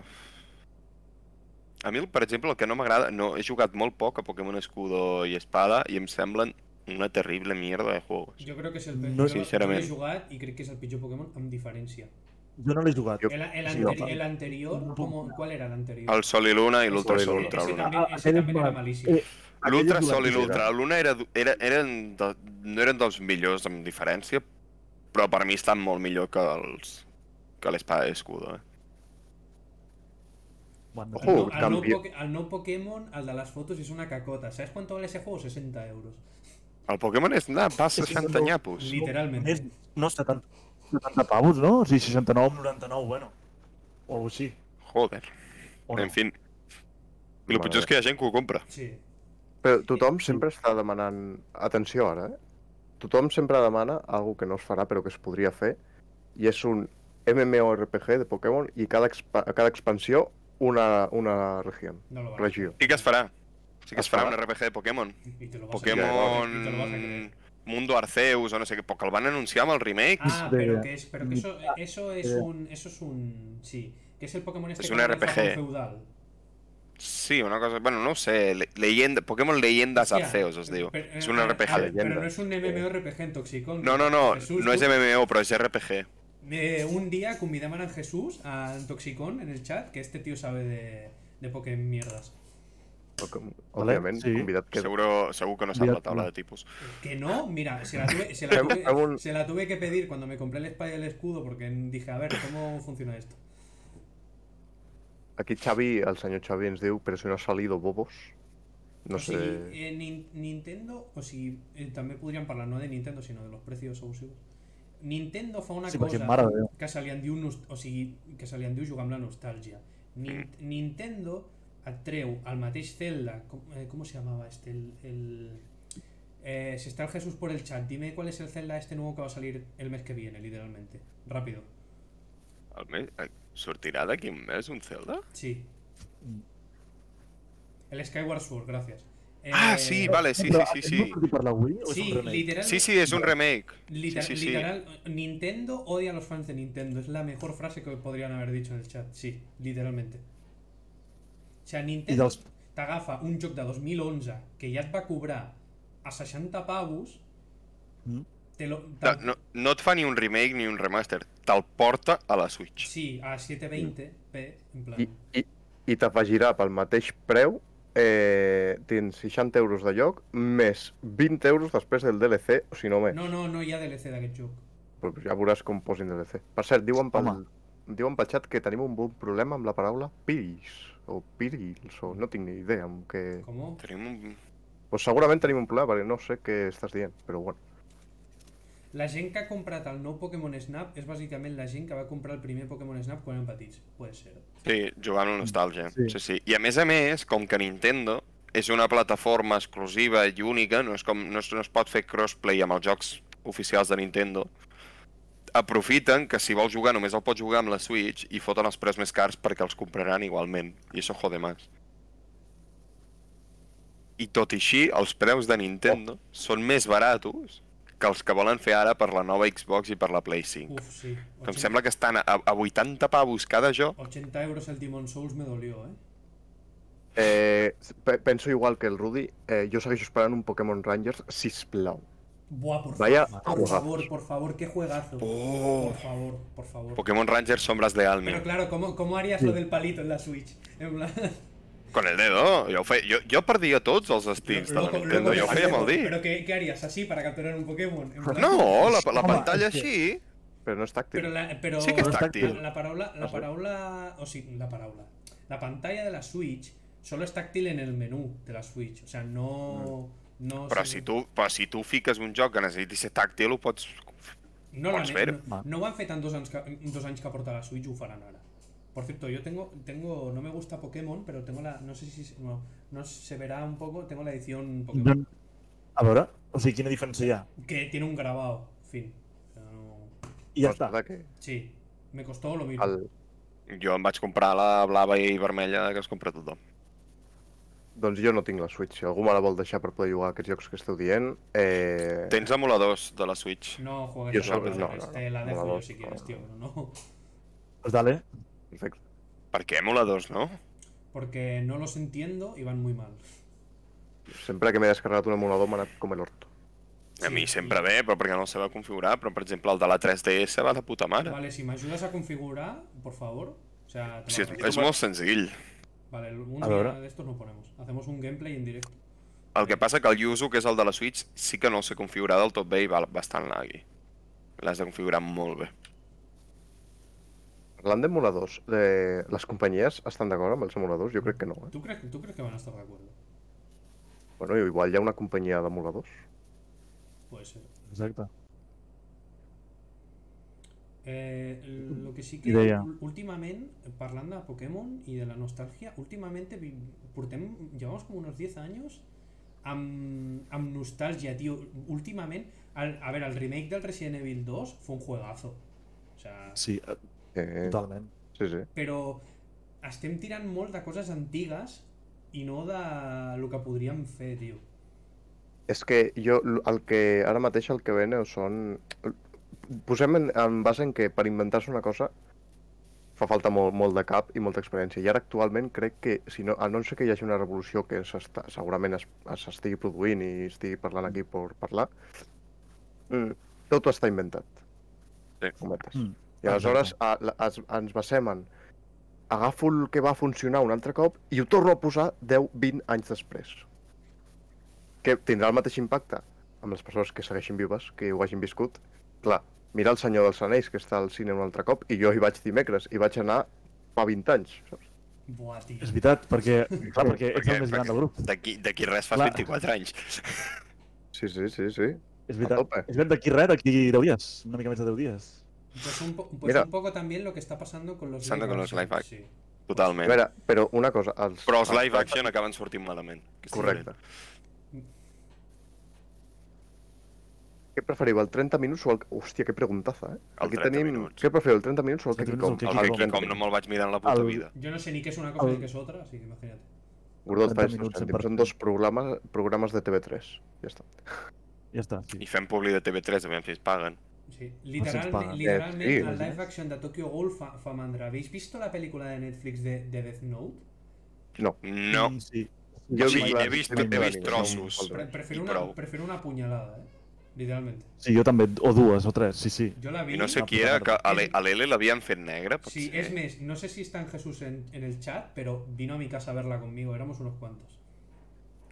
A mi, per exemple, el que no m'agrada... No, he jugat molt poc a Pokémon Escudo i Espada i em semblen una terrible mierda de juegos. yo creo que es el No, peor. sinceramente. y creo que es el pitjor Pokémon con diferencia. Jo no l'he jugat. Jo- El, el, Sí, anteri- ojalá. el anterior, No, ¿cómo- ¿cuál era el anterior? El Sol i Luna i l'Ultra Sol i Sol i Luna. Ultra ese Luna. también, Ah, ese aquell también és era mal. malísimo. Eh, L'Ultra Aquell és Sol i la l'Ultra Luna era, du- era, eren de, no eren dels millors amb diferència, però per mi estan molt millor que els que l'Espada i Escudo. Eh? Ho han de Ojo, fer. Pues Uh, al, no, cambio. Poké- al no Pokémon, al de las fotos, es una cacota. ¿Sabes cuánto vale ese juego? 60 euros. El Pokémon és anar va sí, 60 no. nyapos. Literalmente. Més, no, 70, 70 pavos, no? O sigui, 69 amb 99, bueno. O alguna així. Joder. O no. En fin. I el Mare pitjor és que hi ha gent que ho compra. Sí. Però tothom sempre està demanant... Atenció ara, eh? Tothom sempre demana algo que no es farà però que es podria fer i és un MMORPG de Pokémon i cada, expa a cada expansió una, una regió. No lo vas a regió. Sí que es farà. Sí que es Es farà farà. un RPG de Pokémon. Y te lo vas a creer. Y te lo vas a Pokémon... creer. Mundo Arceus o no sé què, perquè el van anunciar amb els remakes. Ah, de- pero que es, pero que eso, eso es de- un, eso es un, sí, que es el Pokémon este Es que un era de RPG. Japón feudal. Sí, una cosa... Bueno, no ho sé, le- leyenda... Pokémon Leyendas Hostia, Arceus, es diu. pero- És un ah, ah, RPG. Pero Leyenda. no es un MMORPG en Toxicón. No, no, no, Jesús, no és tú- MMO, però és RPG. Eh, un día convidaban a Jesús a Toxicón en el chat, que este tío sabe de, de Pokémon mierdas. Pokémon, Vale, òbviament, sí. convidat que... Seguro, segur que no sap Mira, la taula de tipus. Que no, mira, se la tuve, se la Fem- fem tuve, un- se la tuve que pedir cuando me compré el espada y el escudo porque dije, a ver, ¿cómo funciona esto? Aquí Xavi, el senyor Xavi ens diu però si no ha salido bobos, no O sé... sigui, eh, Nin- Nintendo, o si eh, también podrían hablar no de Nintendo, sino de los precios abusivos. Nintendo fa una Sí, perquè, cosa mare de Déu. que se li en diu, nos- o sigui, que se li en diu jugar amb la nostàlgia. Nin- Nintendo et treu el mateix Zelda, com, eh, com se llamava este? El, el- eh, si está el Jesús por el chat, dime cuál es el Zelda este nuevo que va a salir el mes que viene, literalmente. Rápido. El me... eh, Sortirà d'aquí un mes un Zelda? Sí. Mm. El Skyward Sword, gracias. Ah, Eh, sí, vale, sí, Però sí, aquest sí, no va sí. sortir per la Wii o és Sí, un remake? literalmente. Sí, sí, és un remake. Sí, Liter- sí, sí. literal, Nintendo odia a los fans de Nintendo. Es la mejor frase que podrían haber dicho en el chat. Sí, literalmente. O sea, Nintendo dels- t'agafa un joc de 2011 que ja et va cobrar a 60 pavos Mm. te lo, No, te'l- no, no et fa ni un remake ni un remaster, te'l porta a la Switch. Sí, a 720p, en plan... I, i, i t'afegirà pel mateix preu eh, tens 60 euros de lloc més 20 euros després del DLC, o si no més. Pues. No, no, no hi ha DLC d'aquest joc. Però ja veuràs com posin DLC. Per cert, diuen pel, Home. diuen pel xat que tenim un bon problema amb la paraula piris, o pirils, o no tinc ni idea amb què... Com? Tenim un... Pues segurament tenim un problema, perquè no sé què estàs dient, però bueno. La gent que ha comprat el nou Pokémon Snap és bàsicament la gent que va comprar el primer Pokémon Snap quan eren petits. Puede ser. Sí, jugar amb la nostàlgia. Sí. Sí. sí, sí. I a més a més, com que Nintendo és una plataforma exclusiva i única, no, és com, no, es, no es pot fer crossplay amb els jocs oficials de Nintendo, aprofiten que si vols jugar només el pots jugar amb la Switch i foten els preus més cars perquè els compraran igualment. I això jode més. I tot i així, els preus de Nintendo són més baratos que els que volen fer ara per la nova Xbox i per la Play 5. Uf, sí. que em sembla que estan a, a 80 pavos cada joc. 80 euros el Demon Souls me dolió, ¿eh? Eh, pe- penso igual que el Rudy, eh, jo segueixo esperant un Pokémon Rangers, sisplau. Buah, por Vaya favor. Por juegazo. favor, por favor, qué juegazo. Oh. Por favor, por favor. Pokémon Rangers Sombras de Almin. Pero claro, ¿cómo, cómo harías lo del palito en la Switch? En [laughs] plan, Con el dedo, jo, ho feia, jo, jo perdia tots els Steams de la loco- Nintendo, loco jo ho feia amb el dit. ¿Pero qué, qué harías? ¿Así para capturar un Pokémon? En plan- No, la, la Home, pantalla és que- així Però no és tàctil. Pero la, pero sí que és No és tàctil. la, la parábola, la parábola, o sí, la parábola. La pantalla de la Switch solo es táctil en el menú de la Switch, o sea, no, no. Però se- si tu, però si tu fiques un joc que necessiti ser tàctil, ho pots... no, la pots ne- ver. no, no van fer tant dos años que, dos anys que porta la Switch, ho faran ara. Por cierto, yo tengo, tengo, no me gusta Pokémon, pero tengo la, no sé si, se- no, no se verá un poco, tengo la edición Pokémon No- Doncs, A veure, o sigui, quina diferència hi ha? que tiene un grabado, fin. O sea, no- I ja Pues està. nada, que sí, me costó lo mismo. el, Jo em vaig comprar la blava i vermella que es compra tothom. doncs jo no tinc la Switch. Si algú me la vol deixar per poder jugar a aquests jocs que esteu dient... Eh... Tens emuladors de la Switch. No Yo juegues a solo- la no, otra, no, te la no, dejo no, yo si no, quieres, no. tío, pero no. Pues dale. Perfecte. Per què emuladors, no? Porque no los entiendo y van muy mal. Sempre que m'he descarregat un emulador m'ha anat com el orto. A mi Sí, sempre bé, però perquè no el sabeu configurar, però per exemple el de la 3DS va de puta mare. Vale, si me ayudas a configurar, por favor. O sea, te lo Sí, és, agradezco. és molt senzill. Vale, un A día ver. de estos no ponemos. Hacemos un gameplay en directo. El que passa que el Yuzu, que és el de la Switch, sí que no el sé configurar del tot bé i va bastant laggy. L'has de configurar molt bé. Parlant d'emuladors, eh, les companyies estan d'acord amb els emuladors? Jo crec que no. Eh? ¿Tú crees, ¿Tú crees que van a estar de acuerdo? Bueno, igual hi ha una companyia d'emuladors. Puede ser. Exacte. Eh, el- lo que sí que Idea. ul- últimament, parlant de Pokémon i de la nostàlgia, últimament vi- portem, llevamos com uns 10 anys amb, amb nostàlgia, tio. Últimament, el, a veure, el remake del Resident Evil 2 fue un juegazo. O sea, Sí, eh, Eh, totalment. sí, sí. però estem tirant molt de coses antigues i no de lo que podríem fer, tio. És que jo, l- el que ara mateix el que vene són... Posem en, en base en que per inventar-se una cosa fa falta molt, molt de cap i molta experiència. I ara actualment crec que, si no, a no ser que hi hagi una revolució que s'està- segurament es- s'estigui produint i estigui parlant aquí per parlar, mm, tot està inventat. Sí. Cometes. Mm, I aleshores a, la- es, ens basem en agafo el que va funcionar un altre cop i ho torno a posar 10-20 anys després. Que tindrà el mateix impacte amb les persones que segueixin vives, que ho hagin viscut. Clar, mira el Senyor dels Anells, que està al cine un altre cop, i jo hi vaig dimecres, i vaig anar fa 20 anys. Saps? Buah, Pues tio. És veritat, perquè, clar, perquè ets el Perquè- més gran perquè del grup. D'aquí d'aquí res fas Clar. 24 anys. [laughs] Sí, sí, sí, sí. És a veritat. tope. És veritat, d'aquí res, d'aquí 10 dies. Una mica més de 10 dies. Pues, un, po- pues Mira. un poco también lo que está pasando con los Pasando con los live act- sí. A Totalment. veure, però una cosa... Els, Però els els- live action acaben sortint malament. Aquesta Correcte. manera. Què preferiu, el 30 minuts o el... Hòstia, que preguntaza, eh? El Aquí 30 tenim... minuts. Què preferiu, el 30 minuts o el 30 Keki minuts o Com? el Keki El Claro. que aquí com no me'l vaig mirar en la puta El- vida. Yo no sé ni qué es una cosa Al- ni qué es otra, así que imagínate. Gordó, 30 faig dos minuts, cèntims. Són perfecte. dos programes, programes de TV3. Ja està. Ja està, sí. I fem publi de TV3, aviam si es paguen. Sí. se'ns Literal, paga. literalment, Eh, sí. el live action de Tokyo Ghoul fa, fa mandra. ¿Habéis visto la película de Netflix de, de Death Note? No. No, Mm, Sí. Jo Sí, he he vist- vist, he vist he vist animes, trossos. no em Pre- falta. prefiero, Y una, pro. prefiero una puñalada, ¿eh? Literalmente. Sí, jo també, o dues, o tres, sí, sí. Yo la vi. I no sé Una qui puta era, que merda. a l'E- a l'L l'havien fet negre, Sí, potser. es mes. No sé si está en Jesús en, en el chat, pero vino a mi casa a verla conmigo. Éramos unos cuantos.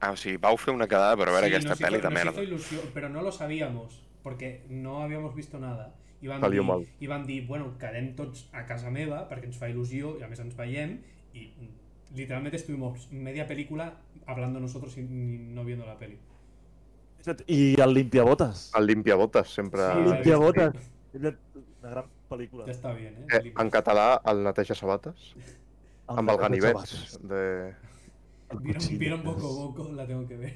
Ah, o sigui, vau fer una quedada per veure Sí, aquesta nos hizo- pel·li de nos hizo merda. ilusión, pero no lo sabíamos, porque no habíamos visto nada. I van, Salió dir, mal. I van dir, bueno, quedem tots a casa meva, perquè ens fa il·lusió, i a més ens veiem, i mm, literalmente estuvimos media película hablando nosotros y ni- no viendo la peli. I el Limpiabotes. El Limpiabotes, sempre... Sí, l'he vist. Limpiabotes. Una gran pel·lícula. Ya está bien, ¿eh? Eh, en català, el Neteja Sabates, amb el Ganivets. De... El Vieron, cuchillo, vieron Boco és- Boco, la tengo que ver.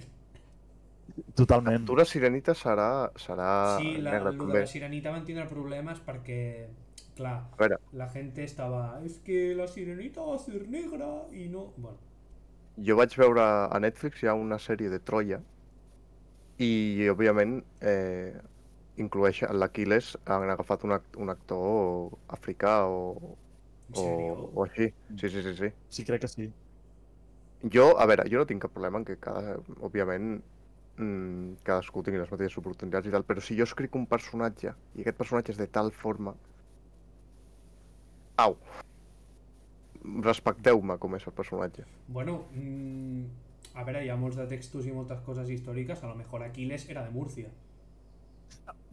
Totalment. Captura sirenita serà... serà sí, la, negra, lo de també. la sirenita van tindre problemes perquè, clar, A veure, la gente estava es que la sirenita va a ser negra y no... Bueno, jo vaig veure a Netflix hi ha una sèrie de Troia i, òbviament, eh, inclueix l'Aquiles, han agafat un, act un actor africà o, ¿en o, serio? o així. Sí, sí, sí, sí. Sí, crec que sí. Jo, a veure, jo no tinc cap problema en que cada, òbviament, mm, cadascú tingui les mateixes oportunitats i tal, però si jo escric un personatge i aquest personatge és de tal forma... Au! Respecteu-me com és el personatge. Bueno, mm, a ver, hay molts de textos y muchas cosas históricas, a lo mejor Aquiles era de Murcia.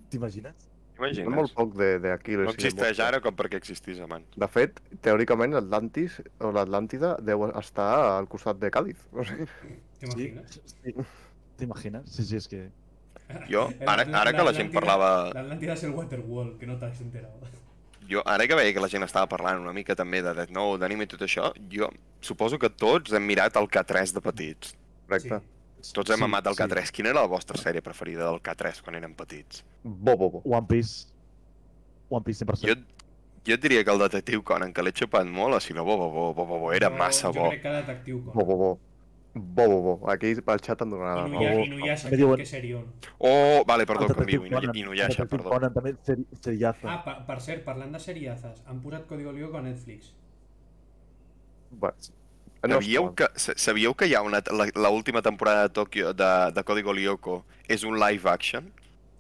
T'imagines? Imagines? Molt Imagina't. poc de- d'Aquiles. No i de existeix Murcia. ara com perquè existís abans. De fet, teòricament, l'Atlantis o l'Atlàntida deu estar al costat de Càdiz. [laughs] O sigui, ¿Te imaginas? Sí. sí. T'imagines? Sí, sí, és que... Jo, ara, ara que la gent parlava La Atlántida es el Waterworld, que no te has enterado. Jo, ara que veia que la gent estava parlant una mica també de Death Note, d'anime i tot això, jo suposo que tots hem mirat el K3 de petits. correcte. Sí. Tots hem Sí, amat el sí. K3. Quina era la vostra sèrie preferida del K3 quan érem petits? Bo, bo, bo. One Piece. One Piece 100%. Jo, jo et diria que el detectiu Conan, que l'he xupat molt, o si no, bo, bo, bo, bo, bo, bo era Jo- massa jo bo. crec que era detectiu, com. Bo, bo, bo. Bo, bo, bo. Aquí pel xat em donarà la Inuya- raó. bo. Inuyasha, Me diuen- que serión. Oh, vale, El perdó, detectiu canvio, Inu- Conan, Inuyasha, el detectiu perdó. Conan també ser, seriazo. Ah, per, per cert, parlant de seriazas, han posat Código Lyoko a Netflix. Bueno, no Sabíeu està que, sa- sabíeu que hi ha una, la, la última temporada de Tokyo, de, de Código Lyoko, és un live action?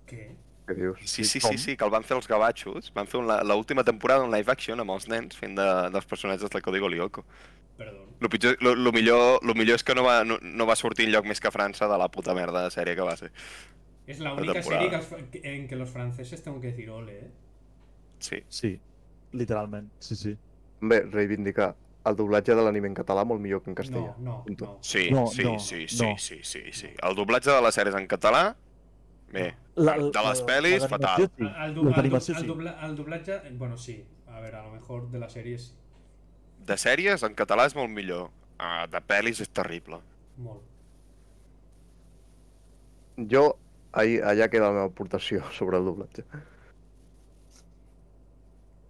Què? mal, que dius. Sí, sí, com? sí, sí, que el van fer els gavatxos. Van fer un- la- l'última temporada un live action amb els nens fent de, dels personatges del Código Lyoko. Perdó. Lo, pitjor, lo, lo, millor, lo millor és que no va, no, no va sortir lloc més que a França de la puta merda de sèrie que va ser. Es la La única temporada. serie que els fra- que- en que los franceses tengo que decir ole, eh. Sí. Sí, literalment. Sí, sí. Bé, reivindicar el doblatge de l'anime en català molt millor que en castellà. No, no, no. Sí, No, sí, no, sí, sí, no. sí, sí, sí. El doblatge de les sèries en català, bé, La, De les pel·lis, d'animació, fatal. Sí. Al, La d'animació, sí. doblaje, bueno, sí. A ver, a lo mejor de las series, de sèries en català és molt millor. Ah, de pel·lis és terrible. molt. Jo, ahí, allà queda la meva aportació [laughs] sobre el doblatge.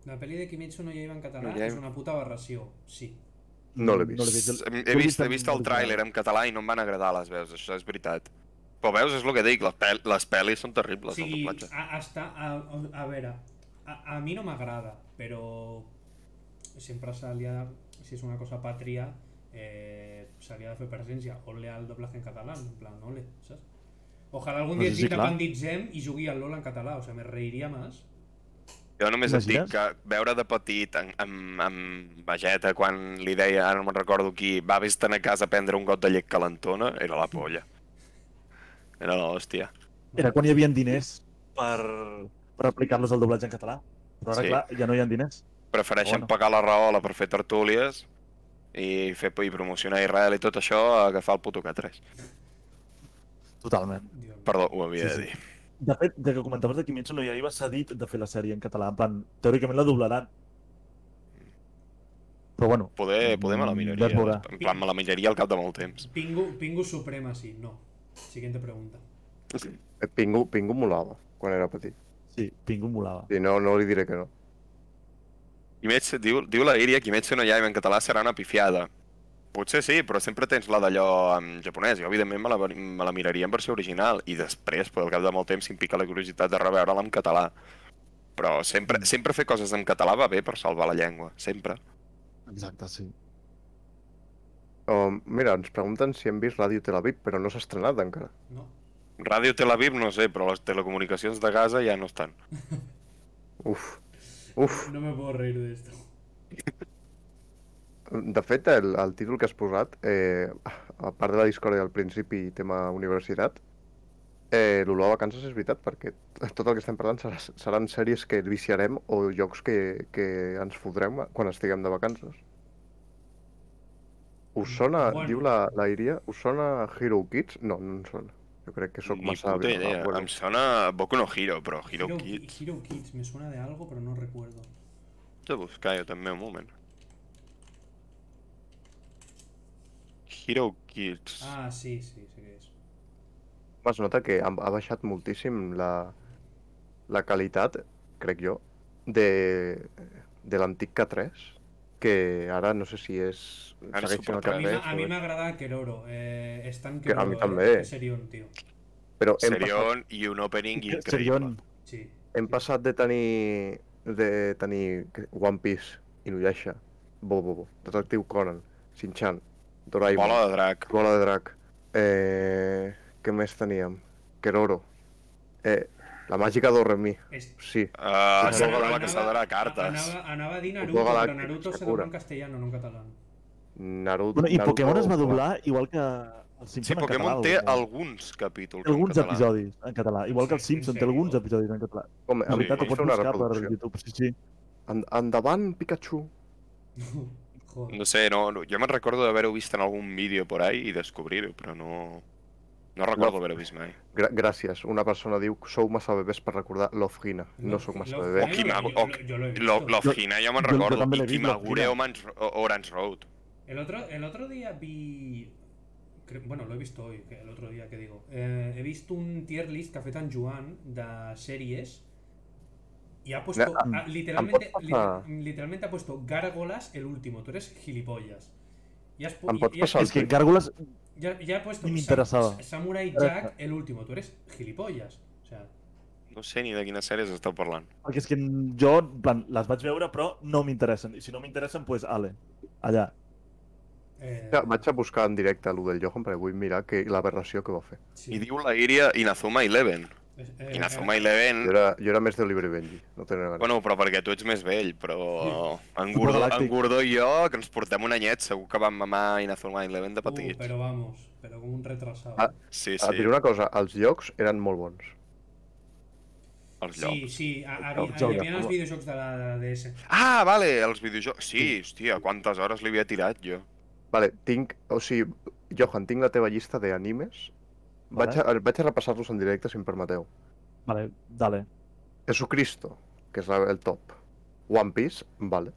La peli de Kimetsu no Yaiba en català No Yaiba. és una puta aberració, sí. No l'he vist. No l'he vist. El- He l'he vist, he en vist el original. tràiler en català i no em van agradar les veus, això és veritat. Però veus, és el que dic, les, pel les pel·lis són O terribles, el sigui, doblatge. a, hasta, a, a veure, a, a mi no m'agrada, però sempre s'havia de, si és una cosa pàtria, eh, s'havia de fer presència, ole al doblatge en català, en plan, ole, saps? Ojalà algun No dia sé ens si, clar. independitzem i jugui al LOL en català, o sea, me reiria més. Jo només et T'imagines? dic que veure de petit amb, amb, amb Vegeta quan li deia, ara no me'n recordo qui, va vés a casa a prendre un got de llet calentona, era la polla. Era l'hòstia. Era quan hi havia diners Per... per aplicar-los al doblatge en català. Però ara, Sí. clar, ja no hi ha diners. Prefereixen Bueno. pagar la rahola per fer tertúlies i fer i promocionar Israel i tot això a agafar el puto K3. Totalment. Dios mío. Perdó, ho Sí, havia de sí. dir. De fet, de que comentaves de Kimetsu no Yaiba s'ha dit de fer la sèrie en català. En plan, teòricament la doblaran. Però bueno, Poder, poder me la Mm, miraria. ves veurà. En plan, me la miraria al cap de molt temps. Pingu, Pingu Suprema, sí, no. Siguiente pregunta. Eh, Pingu, Pingu molava quan era petit. sí, Pingu molava. I no, no li diré que no. Kimetsu, diu, diu la Iria, Kimetsu no Yaiba en català serà una pifiada. Potser sí, però sempre tens la d'allò en japonès. Jo, evidentment, me la, veri- me la miraria en versió original i després, però al cap de molt temps, s'implica la curiositat de reveure-la en català. Però sempre, Mm. sempre fer coses en català va bé per salvar la llengua, sempre. Exacte, sí. Um, mira, ens pregunten si hem vist Ràdio Tel Aviv, però no s'ha estrenat encara. No. Ràdio Tel Aviv, no sé, però les telecomunicacions de Gaza ja no estan. Uf. Uf. No me puedo reír de esto. De fet, el, el títol que has posat, eh, a part de la discòrdia al principi i tema universitat, eh, l'olor a vacances és veritat, perquè t- tot el que estem parlant serà, seran sèries que viciarem o jocs que, que ens fotrem quan estiguem de vacances. Mm, Us sona, Bueno. bueno. diu la, la Iria, us sona Hero Kids? No, no em sona. Jo crec que sóc Ni massa puta avi. Ah, idea. bueno. Em sona Boku no Hero, però Hero Hero, Kid. Hero Kids, me suena de algo, pero no recuerdo. Haig de buscar jo també un moment. Hero Kids. Ah, sí, sí, sí que es. es nota que ha, ha baixat moltíssim la, la qualitat, crec jo, de, de l'antic K3, que ara no sé si és... Ara segueix sent el A Supertramp. mí, K3, me- a mí o- me agrada Keroro. Eh, Stan Que a Keroro, mí eh, también. que Serión, tío. Però hem passat Serion i un opening increïble. Serion. Sí. Hem passat de tenir, de tenir One Piece, Inuyasha, Bobo, Detectiu Conan, Shin-Chan, Doraemon, Bola Bola, de drac. de Drac, eh, què més teníem? Keroro, eh, la màgica d'Oremi, Es- sí, Uh, Sí, Sakura Anava- la caçadora de cartes. Anava, anava di Naruto, Juego pero Galáctico, Naruto se dobló Sakura. en castellano, no en catalán. [laughs] Naruto... Bueno, I Naruto- Pokémon es va doblar igual que el Simpson Sí, en Pokémon català, té o- alguns capítols alguns en català. episodis en català, igual que el Sí, Simpson té en sèrio? alguns episodis en català. Com, En em, Sí, veritat, ho em, és pots una buscar per reproducció. YouTube, sí, sí. En, endavant, Pikachu! Joder. No sé, no, no- jo me'n recordo d'haver-ho vist en algun vídeo por ahí i descobrir-ho, però no... No recordo haver-ho vist mai. Gra gràcies. Una persona diu, sou massa bebès per recordar Love Hina. No sou massa Love bebè. Hina, Okimago- yo- yo- Ok- yo lo he visto. Lo- Lofina jo me'n jo- jo recordo, també l'he i vist, Kimagure Lofina. Orange, Orange Road. El otro, el otro día vi. cre- Bueno, lo he visto hoy, que el otro día que digo. Eh, he visto un tier list que ha fet en Joan de series y ha puesto. Na- ha- literalmente, em pots li- passar? literalmente ha puesto Gárgolas el último. Tú eres gilipollas. Y has pu- Em y- pots y has- passar el És que Sí. Em Gárgoles, ya, ya ha puesto Ni me Sam- interesaba. Samurai Interesa. Jack el último. Tú eres gilipollas. O sea, No sé ni de quines sèries esteu parlant. perquè és que jo, en plan, les vaig veure però no m'interessen, i si no m'interessen, doncs ale, allà. eh, Ja, Vaig a buscar en directe allò del Johan perquè vull mirar que l'aberració que va fer. sí. I diu la Iria Inazuma Eleven. Eh, eh, Inazuma Jo Eleven... era, jo era més d'Oliver i Benji, no tenia ganes. Bueno, però perquè tu ets més vell, però... En Futbol Gordó, en galàctic. Gordó i jo, que ens portem un anyet, segur que vam mamar Inazuma Eleven de uh, petits. pero vamos, pero como un retrasado. Ah, Sí, Et diré sí, una cosa, els llocs eren molt bons. els Sí, llocs. sí, a, a, El a, joc. hi havia els videojocs de la, de la DS. Ah, vale, els videojocs. Sí, hòstia, quantes hores li havia tirat jo. Vale, tinc... O sigui, Johan, tinc la teva llista d'animes. Vaig, a- vaig a repassar-los en directe, si em permeteu. Vale, dale. Jesucristo, que és la- el top. One Piece, vale.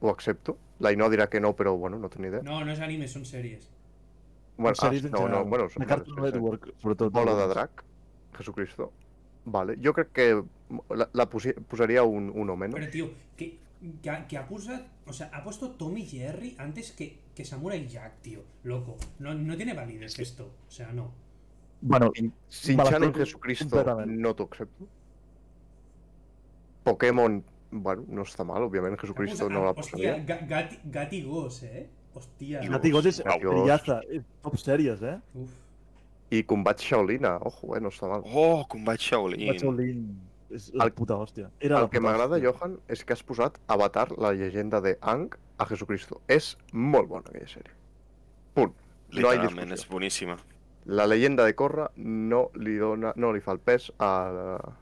Ho accepto. La Ino dirà que no, però bueno, no tenia idea. No, no es anime, son series. bueno, Les sèries ah, en no, no, general. bueno, són la vale, Cartoon sí, sí. Network, sobretot. Bola de drac, Jesucristo. Vale, jo crec que la, la posi- posaria un, un o menos. Pero tío, que, que, ha- que ha puesto- o sea, ha puesto Tommy Jerry antes que, que Samurai Jack, tío. Loco, no, no tiene validez esto. O sea, no. Bueno, Sinchan en Malafet, Jesucristo, completament. no t'ho accepto. Pokémon, bueno, no està mal, òbviament, Ha puesto- Jesucristo no la ah, Hostia, posaria. Ga- Gati, Gati Ghost, eh. Hostia. Y Nati Gos és Nati Gos. trillaza, és top sèries, eh? Uf. I Combat Shaolina, ojo, eh, no està mal. Oh, combat Vaig Shaolin. Olin, és la El- puta hòstia. Era El la que puta m'agrada, hòstia. Johan, és que has posat Avatar, la llegenda de Ang, a Jesucristo. És molt bona aquella sèrie. Punt. No hi ha Literalment, és discussió. boníssima. La leyenda de Korra no li dona, no li fa el pes a la,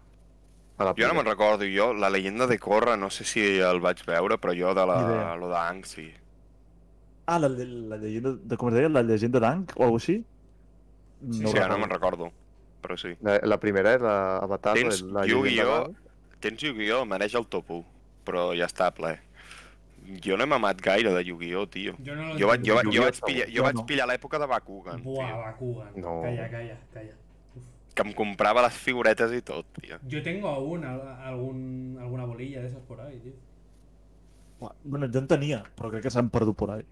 a la Jo no me'n recordo, jo, la llegenda de Korra, no sé si el vaig veure, però jo de la... Ni idea. lo d'Ang, sí. Ah, la, la llegenda, de, com es deia, la llegenda d'Ank o alguna així? Sí, sí, ara recordo. no me'n recordo, però sí. La, la primera és la Avatar, Tens la Yu-Gi-Oh! d'Ang. Tens Yu-Gi-Oh! Mereix el top 1, però ja està ple. Jo no he mamat gaire de Yu-Gi-Oh, tio. Yo no lo Jo, vaig, jo, vaig- jo Yu-Gi-Oh! vaig pillar, jo Jo vaig no. pillar l'època de Bakugan, Buah, tio, Bakugan. No. Calla, calla, calla. Uf. que em comprava les figuretes i tot, tio. Yo tengo aún al- algún, alguna bolilla de esas por ahí, tío. Bueno, jo en tenia, però crec que s'han perdut por ahí.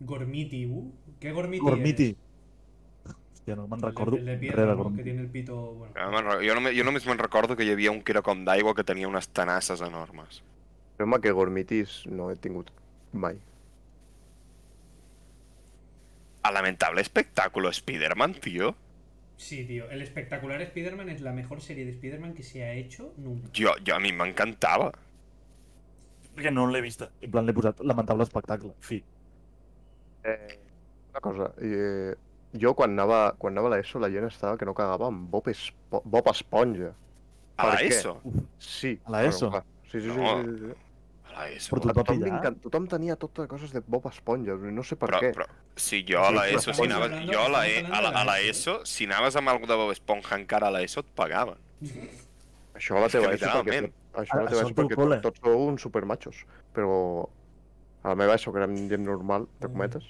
Gormiti, uh. ¿Qué Gormiti? Gormiti. eres? Hòstia, no me'n El de- recordo el de res piedra, de ¿no? Que Gormiti. tiene el pito. Bueno. Jo, no me'n re- jo, només, jo només me'n recordo que hi havia un que era com d'aigua que tenia unes tenasses enormes. Jo home, que Gormitis no he tingut mai. A lamentable espectáculo, Spider-Man, tio. Sí, tío. El espectacular Spider-Man es la mejor serie de Spider-Man que se ha hecho nunca. Jo, jo a mi m'encantava. Perquè no l'he vista. En plan, l'he posat lamentable espectacle. Fi. Eh, una cosa, eh, jo quan anava, quan anava a l'ESO la gent estava que no cagava amb Bob, Espo Bob Esponja. A la Per què? ESO. Sí. A la ESO? clar. sí, sí, sí, No. sí, sí, sí. A la ESO. Però A tu- tothom, pillar? li encan- tothom tenia totes coses de Bob Esponja, no sé per Però, què. però, si jo a la Sí, ESO, si estamos anaves, hablando- jo a la, e, a estamos la, hablando de a la la ESO, ESO, si anaves amb algú de Bob Esponja encara a la ESO, et pagaven. Això a la És que teva ESO, perquè, literalment. això a la Ah, teva són ESO perquè col·le. tot, tots sou uns supermachos, però a la meva ESO, que érem gent normal, te Mm. cometes,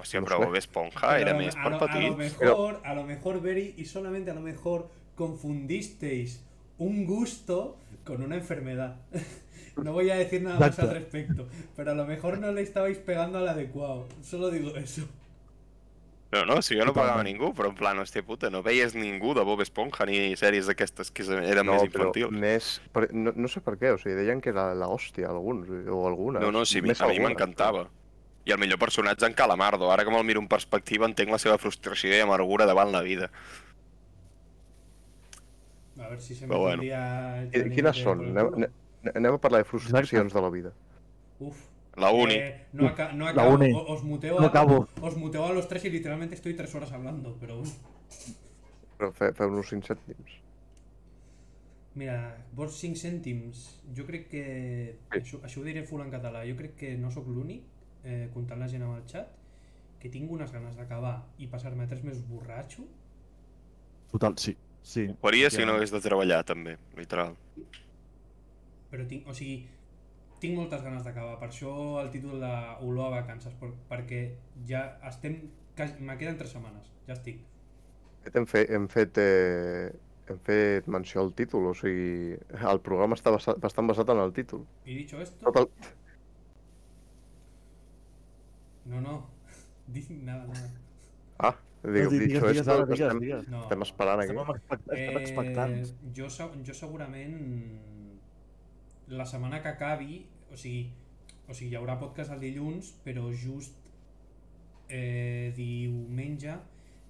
Hòstia, No però sé. Bob Esponja Ah, era Pero més a, per lo, a lo petits. mejor, a lo mejor, Berry, y solamente a lo mejor confundisteis un gusto con una enfermedad. [laughs] No voy a decir nada más al Exacto. respecto, pero a lo mejor no le estabais pegando al adecuado. Solo digo eso. No, no, si jo no Totalment. pagava ningú, però en plan, hòstia puta, no veies ningú de Bob Esponja ni sèries d'aquestes que eren No, més però infantils. més... per- No, no sé per què, o sigui, deien que era la hòstia, alguns, o algunes. No, no, sí, més a mi algunes. m'encantava. I el millor personatge en Calamardo. Ara que me'l miro en perspectiva entenc la seva frustració i amargura davant la vida. A ver si se me Pero bueno. olvida el Qui- anime Quines de- són? por el Anem, culo. anem- anem a parlar de frustracions de la vida. Uf. La uni. Eh, no, aca- no La acabo. uni. O- Os muteo, No a, acabo. os muteo a los tres y literalmente estoy tres horas hablando, pero bueno. Però fe, feu-nos cinc cèntims. Mira, vos 5 cèntims, jo crec que... Això, això ho diré full en català. Jo crec que no sóc l'únic, eh, comptant la gent amb el xat, que tinc unes ganes d'acabar i passar-me 3 mesos borratxo. Total, sí. sí. Faria si no hagués de treballar, també, literal. Però tinc, o sigui, tinc moltes ganes d'acabar. Per això el títol de Olor a vacances, per, perquè ja estem... quasi- Me queden 3 setmanes, ja estic. De fet, Hem fet, hem fet, eh, hem fet menció al títol, o sigui, el programa està basat, bastant basat en el títol. I dicho esto... Tot el... No, no. [laughs] Dic nada, nada. Ah, dic, Digues, digues, dicho digues, esto, ara, digues, estem, digues. No. estem esperant aquí. Estem, amb expect estem expectants. Eh, jo, se- jo segurament la setmana que acabi, o sigui, o sigui, hi haurà podcast el dilluns, però just eh, diumenge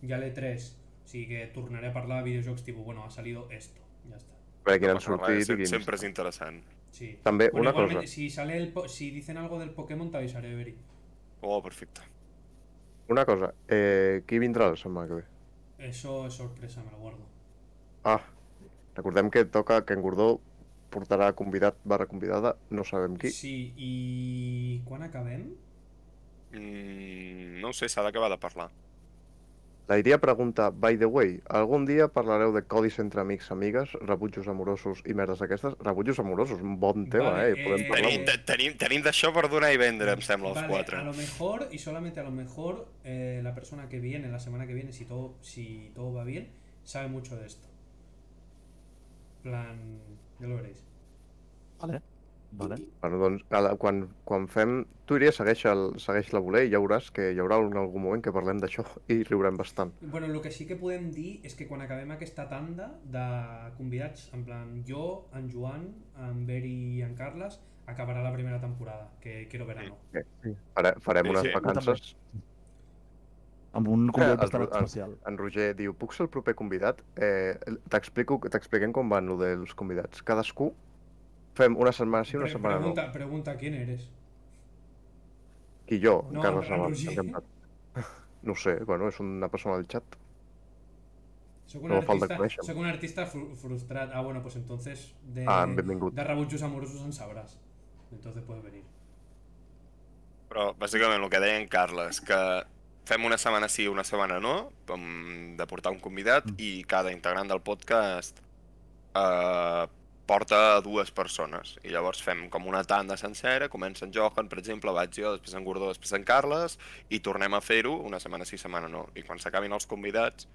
ja l'he 3 o sigui que tornaré a parlar de videojocs tipus, bueno, ha salido esto, ja està. A veure quin No han passa res, sortit i sem- quins. Sempre és interessant. Sí. També, una igualmente, cosa. Si, sale el po- si dicen algo del Pokémon, te avisaré, Beri. Oh, perfecte. Una cosa, eh, qui vindrà la setmana que ve? Eso es sorpresa, me lo guardo. Ah, recordem que toca que en Gordó portarà convidat barra convidada, no sabem qui. Sí, i quan acabem? Mm, no ho sé, s'ha d'acabar de parlar. La iria pregunta, by the way, algun dia parlareu de codis entre amics, amigues, rebutjos amorosos i merdes aquestes? Rebutjos amorosos, un bon tema, Vale, eh? Podem eh, parlar. Tenim, te- tenim, tenim d'això per donar i vendre, em sembla, els Vale, a quatre. lo mejor, y solamente a lo mejor, eh, la persona que viene, la semana que viene, si todo, si todo va bien, sabe mucho de esto. plan, ya lo veréis. Vale. Vale. Bueno, doncs, a la, quan, quan fem... Tu iria segueix, el, segueix la voler i ja veuràs que hi haurà un, algun moment que parlem d'això i riurem bastant. Bueno, lo que sí que podem dir és que quan acabem aquesta tanda de convidats, en plan, jo, en Joan, en Beri i en Carles, acabarà la primera temporada, que quiero verano. Ara farem Sí, unes sí. vacances. Amb un convidat els- bastant els- especial. En Roger diu, puc ser el proper convidat? Eh, T'explico, t'expliquem com van lo dels convidats. Cadascú fem una setmana sí, una Pre- setmana no. pregunta, pregunta quién eres. Qui jo, No, en Carles en Navarro, Roger. encantat. No ho sé, bueno, és una persona del xat. Soc un, No falta artista, conèixer-me. soc un artista fru- frustrat. Ah, bueno, pues entonces de, Ah, benvingut. de rebutjos amorosos en sabràs. Entonces puedes venir. Però, bàsicament, el que deia en Carles, que fem una setmana sí, una setmana no, com de portar un convidat, Mm. i cada integrant del podcast eh, porta dues persones. I llavors fem com una tanda sencera, comença en Johan, per exemple, vaig jo, després en Gordó, després en Carles, i tornem a fer-ho una setmana sí, setmana no. I quan s'acabin els convidats,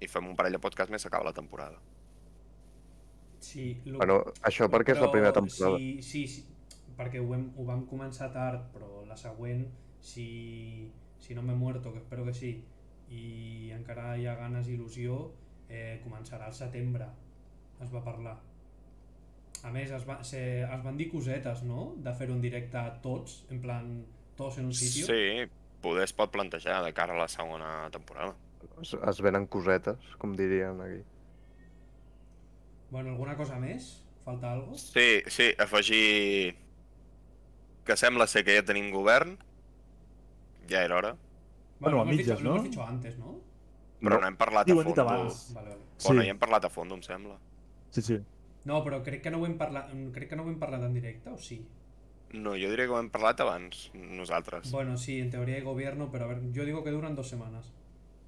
i fem un parell de podcast més, s'acaba la temporada. Sí, lo... Bueno, això perquè és la primera però temporada. Sí, sí, sí, perquè ho, hem, ho vam començar tard, però la següent, si, si no m'he muerto, que espero que sí, i encara hi ha ganes i il·lusió, eh, començarà al setembre, es va parlar. A més, es, va, se, es van dir cosetes, no?, de fer-ho en directe a tots, en plan, tots en un sitio. Sí, poder es pot plantejar de cara a la segona temporada. Es, es venen cosetes, com dirien aquí. Bueno, alguna cosa més? Falta algo? Sí, sí, afegir que sembla ser que ja tenim govern, ja era hora, Bueno, a lo hemos mitges, dicho- Lo ¿no? hemos dicho antes, ¿no? Ah, però No. no, hem parlat Diu, ho a han dit fondo. abans. Vale, vale. Bueno, Sí. ja hem parlat a fondo, em sembla. Sí, sí. No, però crec que no ho hem parlat, crec que no ho hem parlat en directe, o sí? No, jo diria que ho hem parlat abans, nosaltres. Bueno, sí, en teoría hay gobierno, pero a ver, yo digo que duran dos semanas.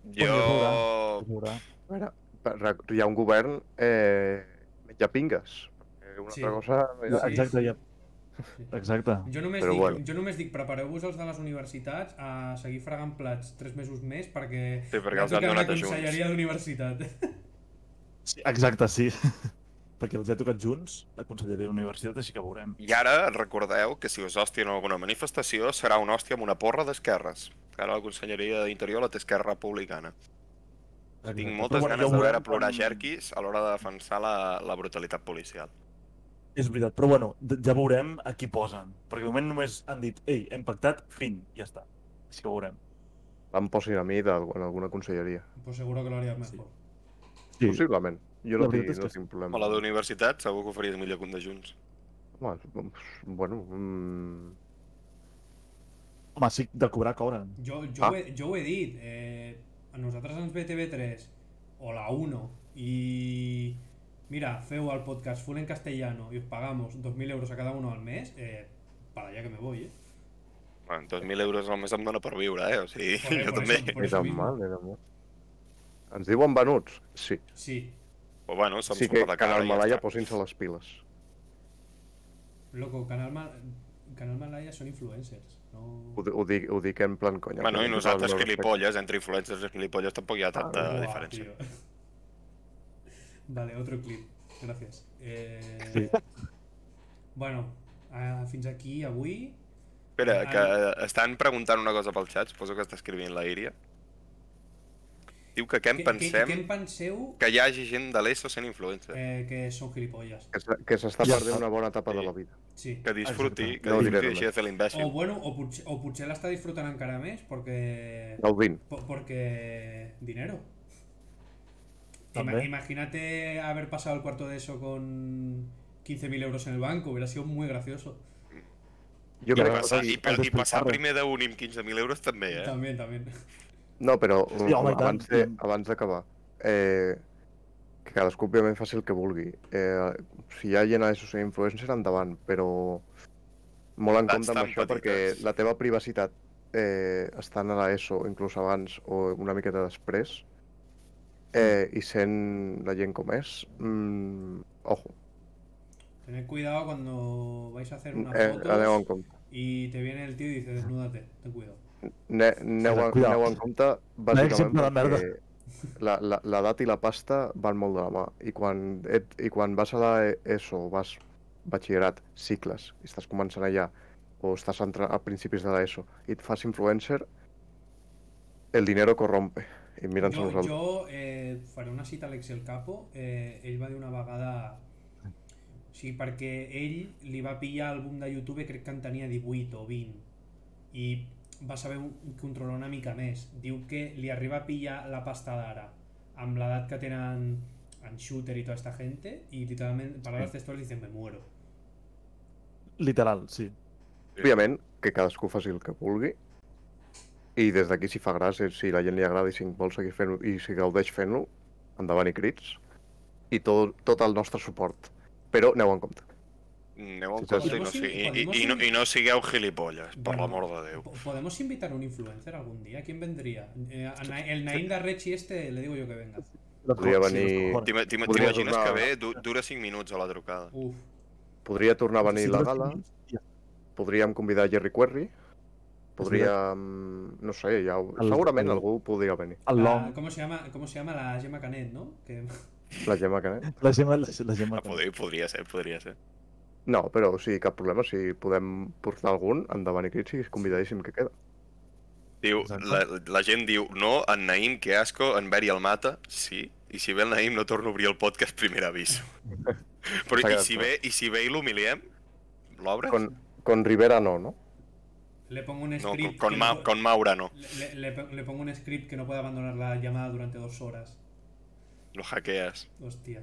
jo... eh? A veure, per- rec- hi ha un govern eh, ja pingues. Eh, Una Sí. altra cosa... Exacte, ja. Exacte. Jo només, Però dic, bueno. jo només dic, prepareu-vos els de les universitats a seguir fregant plats tres mesos més perquè... Sí, perquè ja els han tocarà donat la a junts. Conselleria d'Universitat. [laughs] Sí, exacte, sí. [laughs] Perquè els he tocat junts, la Conselleria d'Universitat, així que veurem. I ara recordeu que si us hòstia en alguna manifestació serà una hòstia amb una porra d'esquerres. Que Ara la Conselleria d'Interior la té Esquerra Republicana. Tinc moltes Però, bueno, ganes ja de veurem veure plorar quan- jerquis a l'hora de defensar la, la brutalitat policial. És veritat, però bueno, d- ja veurem a qui posen. Perquè de moment només han dit, ei, hem pactat, fin, ja està. Així que veurem. eh, Em posin a mi d'al- en alguna conselleria. pues seguro que lo harías mejor. Sí. Possiblement. Jo La no, veritat tinc, és no que sí. tinc problema. A la d'universitat segur que ho faries millor que un de Junts. Bueno, doncs, bueno mm, Home, sí, de cobrar cobren. Jo, jo, Ah. ho, he, jo ho he dit, eh, a nosaltres ens ve TV3 o la 1 i mira, feu el podcast full en castellano y os pagamos 2.000 euros a cada uno al mes, eh, para allá que me voy, eh. Bueno, 2.000 euros al mes em dona per viure, eh? O sigui, Joder, jo por també. eso- por ni eso tan mismo. mal, ni tan mal. Ens diuen venuts? Sí. Sí, Però bueno, som Sí que, sopa de que en cara el i ja Malaya està. posin-se les piles. loco, Canal, Mal- Canal Malaya son influencers, no... Ho, di- ho, dic, ho dic en plan conya. Bueno, però i nosaltres, no respecte. gilipolles, entre influencers i gilipolles tampoc hi ha tanta Buah, diferència. tío. [laughs] Vale, otro clip. Gracias. Eh, Sí. Bueno, ah, fins aquí avui. Espera, Ah, que estan preguntant una cosa pel xat, suposo que està escrivint la Iria. Diu que què en Què- pensem Què, què en penseu que hi hagi gent de l'ESO sent influencer. eh, que són gilipollas? Que s'ha- Que s'està Ja perdent està. una bona etapa de Sí. la vida. Sí. Que disfruti, Exacte. que No diré disfruti res així de fer O l'imbècil. Oh, bueno, o potser, o potser l'està disfrutant encara més perquè... Gaudint. po- Porque... Dinero. Ima- També. imagínate haber pasado el cuarto de eso con 15.000 euros en el banco. Hubiera sido muy gracioso. Jo Ja I crec que... passar, sí, i, per- antes i passar pensava. primer d'un i amb 15.000 euros també, eh? También, también. No, però mm, Sí, home, i tant. abans de- abans d'acabar, eh, que cadascú òbviament faci el que vulgui. Eh, si hi ha gent a això ser influencer, endavant, però molt en Tats compte amb tan això petites. perquè la teva privacitat eh, estant a l'ESO, inclús abans o una miqueta després, eh, Mm. i sent la gent com és, mm, ojo, Tened cuidado cuando vais a hacer una eh, foto aneu en compte. y te viene el tío y dice, desnúdate, ten cuidado. Ne, aneu, en- Cuidado. aneu en compte, exemple de bàsicament, merda. perquè la- la- l'edat i la pasta van molt de la mà. I quan, et, i quan vas a l'ESO, vas batxillerat, cicles, i estàs començant allà, o estàs entra- a principis de l'ESO, i et fas influencer, el dinero corrompe. I mira'ns a Jo, nosaltres. jo eh, faré una cita a Alex el Capo. Eh, ell va dir una vegada... Sí, perquè ell li va pillar el boom de YouTube, crec que en tenia 18 o 20. I va saber un- controlar una mica més. Diu que li arriba a pillar la pasta d'ara amb l'edat que tenen en Shooter i tota esta gente i literalment, paraules textuals, dicen me muero. Literal, sí. Òbviament, que cadascú faci el que vulgui, i des d'aquí, si fa gràcia, si la gent li agrada i si vol seguir fent-ho i si gaudeix fent-ho, endavant i crits, i tot, tot el nostre suport. Però aneu en compte. Aneu en Sí, sí. compte i no, sigui, i, i, i, no, i no sigueu gilipolles, per l'amor de Déu. Po- ¿Podemos invitar a un influencer algún día? ¿Quién vendría? Eh, a Na- el Naim Darrechi este, le digo yo que venga. Los Podria cojones, venir- los cojones. T'ima- t'ima- Podria T'imagines tornar- eh? que bé, du- dura 5 minuts a la trucada. Uf. Podria tornar a venir Sí, la dos gala, minuts, ja. podríem convidar Jerry Querry, podríem... no sé, ja... ho- segurament algú podria venir. El long, Ah, ¿cómo, se llama, ¿Cómo se llama la Gemma Canet, no? Que, [laughs] La Gemma Canet. la Gemma, la, la Gemma. Ah, podria, podria ser, podria ser. No, però o sigui, cap problema, si podem portar algun, endavant i crits, i convidadíssim que queda. Diu, Exacte. la, la gent diu, no, en Naïm, que asco, en Beri el mata, sí. I si ve el Naïm no torno a obrir el podcast, primer [laughs] avís. S'ha Però i quedat si clar. ve, i si ve i l'humiliem, l'obres? Con, con Rivera no, no? le pongo un No, script. con, con, que Ma, no- con Maura no. le, le- le- le pongo un script que no puede abandonar la llamada durante dos horas. Lo hackeas. Hostia.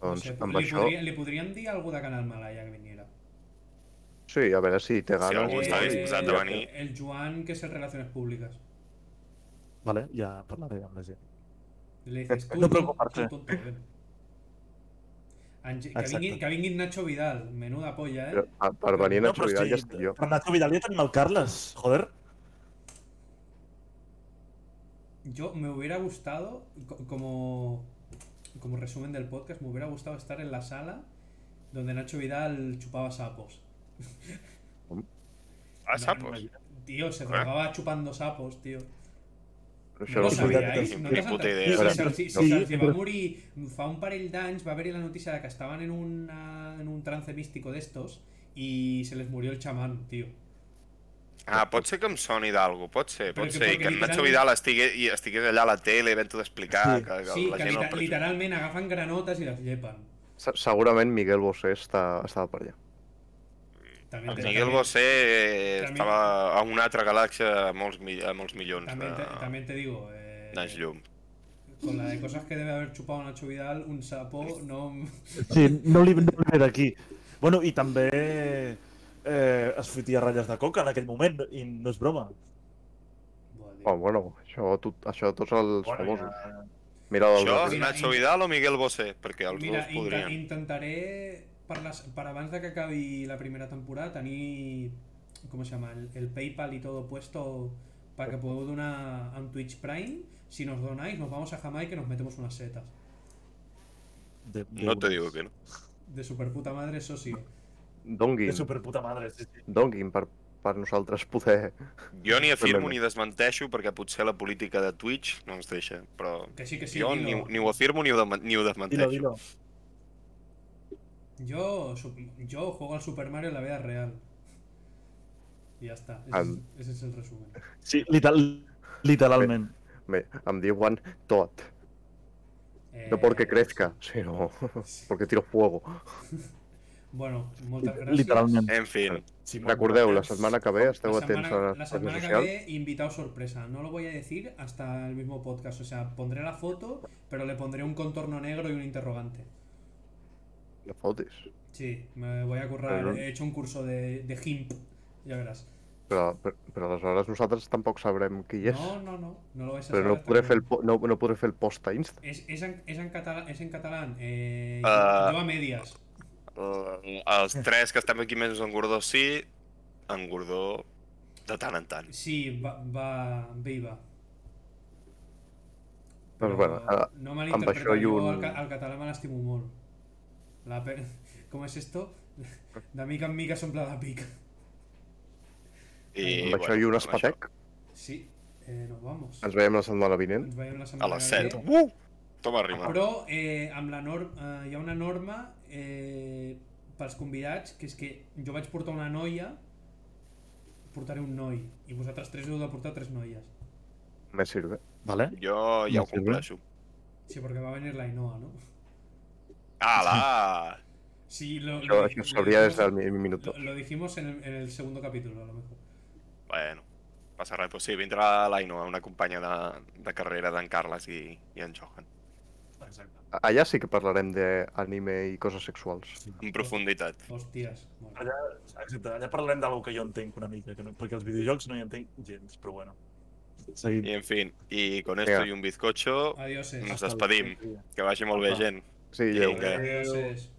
Pues, No Doncs sé, amb le, això... podría- le podrían decir algo de Canal Malaya que viniera. Eh, Sí, a veure si té ganes. algú Pues, está i- disposat a venir. el Juan, que es el Relaciones Públicas. Vale, ja parlaré amb la gent. Le dices tú, No tú- preocuparte. tú tonto, ven. Ange- que Exacto. vingui- que vingui Nacho Vidal, menuda polla, eh? Però, per, per venir a Nacho però Vidal si- ja estic jo. Per Nacho Vidal ja tenim el Carles, joder. Yo me hubiera gustado, co- como, como resumen del podcast, me hubiera gustado estar en la sala donde Nacho Vidal chupaba sapos. Ah, sapos. Tío, se Ah. Pues drogaba chupando sapos, tío. Però No això ho no ho sabia. sabíais? No Ni t'has puta enterat? idea. Sí, sí, sí, Sí, sí, però- sí, va morir fa un parell d'anys va haver-hi la notícia de que estaven en, una, en un trance místico d'estos y se les murió el chamán, tío. Ah, pot ser que em soni d'algo, pot ser, pot Perquè- ser. I perquè que en Nacho literalment- Vidal estigués, i estigués allà a la tele i vent-ho d'explicar, Sí. que, que Sí, la que gent... literal- el prejudi- literalment agafen granotes i les llepen. Se- Segurament Miguel Bosé està, estava per allà. També El te- Miguel també- Bosé eh, També- estava a una altra galàxia a molts, mi- a molts milions También te, de- también te digo, eh, d'anys llum. con la de cosas que debe haber chupado Nacho Vidal, un sapo, no. Sí, no li no li ve d'aquí. Bueno, i també eh, es fotia ratlles de coca en aquell moment, i no és broma. Buah, tío. Bueno, bueno això, tu, això tots els famosos. ja... Mira dels Això és altres. Mira, Nacho in- Vidal o Miguel Bosé? Perquè els Mira, dos inten- podrien. intentaré, per, les, per abans de que acabi la primera temporada, tenir, com se llama, el, el PayPal y todo puesto para que puedo donar a un Twitch Prime. Si nos donáis, nos vamos a Jamaica y nos metemos unas setas. De, de No te digo que no. De super puta madre, eso sí. De Donguin, superputa madre, sí, sí. donguin per, per nosaltres poder... Jo ni afirmo Problema. ni desmenteixo perquè potser la política de Twitch no ens deixa, però Que sí, que sí. jo dilo. ni, ni ho afirmo ni ho, demen- ni ho Dilo, desmenteixo. dilo. Yo, sup- yo juego al Super Mario en la vida real. Y ya está. Ese, Am- es, ese es el resumen. Sí, literal, literalment. Bé, em diuen tot. No Eh, porque crezca, sinó porque tiro fuego. Bueno, moltes gràcies. Literalment. En fi, Sí, molt Recordeu, la bé. setmana que ve esteu La atents a semana, la les semana redes que socials. ve, invitado sorpresa. No lo voy a decir hasta el mismo podcast. O sea, pondré la foto, pero le pondré un contorno negro y un interrogante. No fotis. Sí, me voy a currar. Perdón. He hecho un curso de, de GIMP. Ya verás. Però, però, però aleshores nosaltres tampoc sabrem qui és. No, no, no. No lo vais a però no saber podré, hasta fer el, que- po- no, no podré fer el post a Insta. Es, es en, es en catala- es en catalán. eh, yo- Ah. yo a medias. eh, els tres que estem aquí menys en Gordó sí, en Gordó de tant en tant. Sí, va, va viva. Doncs bueno, ara, no malinterpreto, això i jo un- al, ca- al català me l'estimo molt. La per... [laughs] Com és esto? [laughs] De mica en mica s'omple la pica. I, amb això i un amb espatec. Sí, eh, nos vamos. Ens veiem la setmana vinent. Ens veiem la això. A setmana les que ve. 7. Uh! Toma, rima. Però eh, amb la norm, eh, hi ha una norma eh, pels convidats, que és que jo vaig portar una noia, portaré un noi, i vosaltres tres heu de portar tres noies. Me sirve. Vale? Jo ja ho compleixo. Sí, perquè va venir la Inoa, no? Ala! Sí, lo, Això, lo- això lo se sabria des dijimos- del mi- minut Lo, dos. lo dijimos en el, en el segundo capítulo, a lo mejor. Bueno, passa res. Pues sí, vindrà l'Aino, una companya de, de carrera d'en Carles i, i en Johan. Exacte. Allà sí que parlarem d'anime i coses sexuals. En profunditat. Hostias. Bueno. Allà, exacte, allà parlarem d'alguna que jo entenc una mica, que no, perquè els videojocs no hi entenc gens, però bueno. Seguim. I en fi, i con esto Vinga. y un bizcocho, Adiós. Nos despedim. que vagi molt bé, Apa. gent. Sí, lleu. Vinga. Adiós.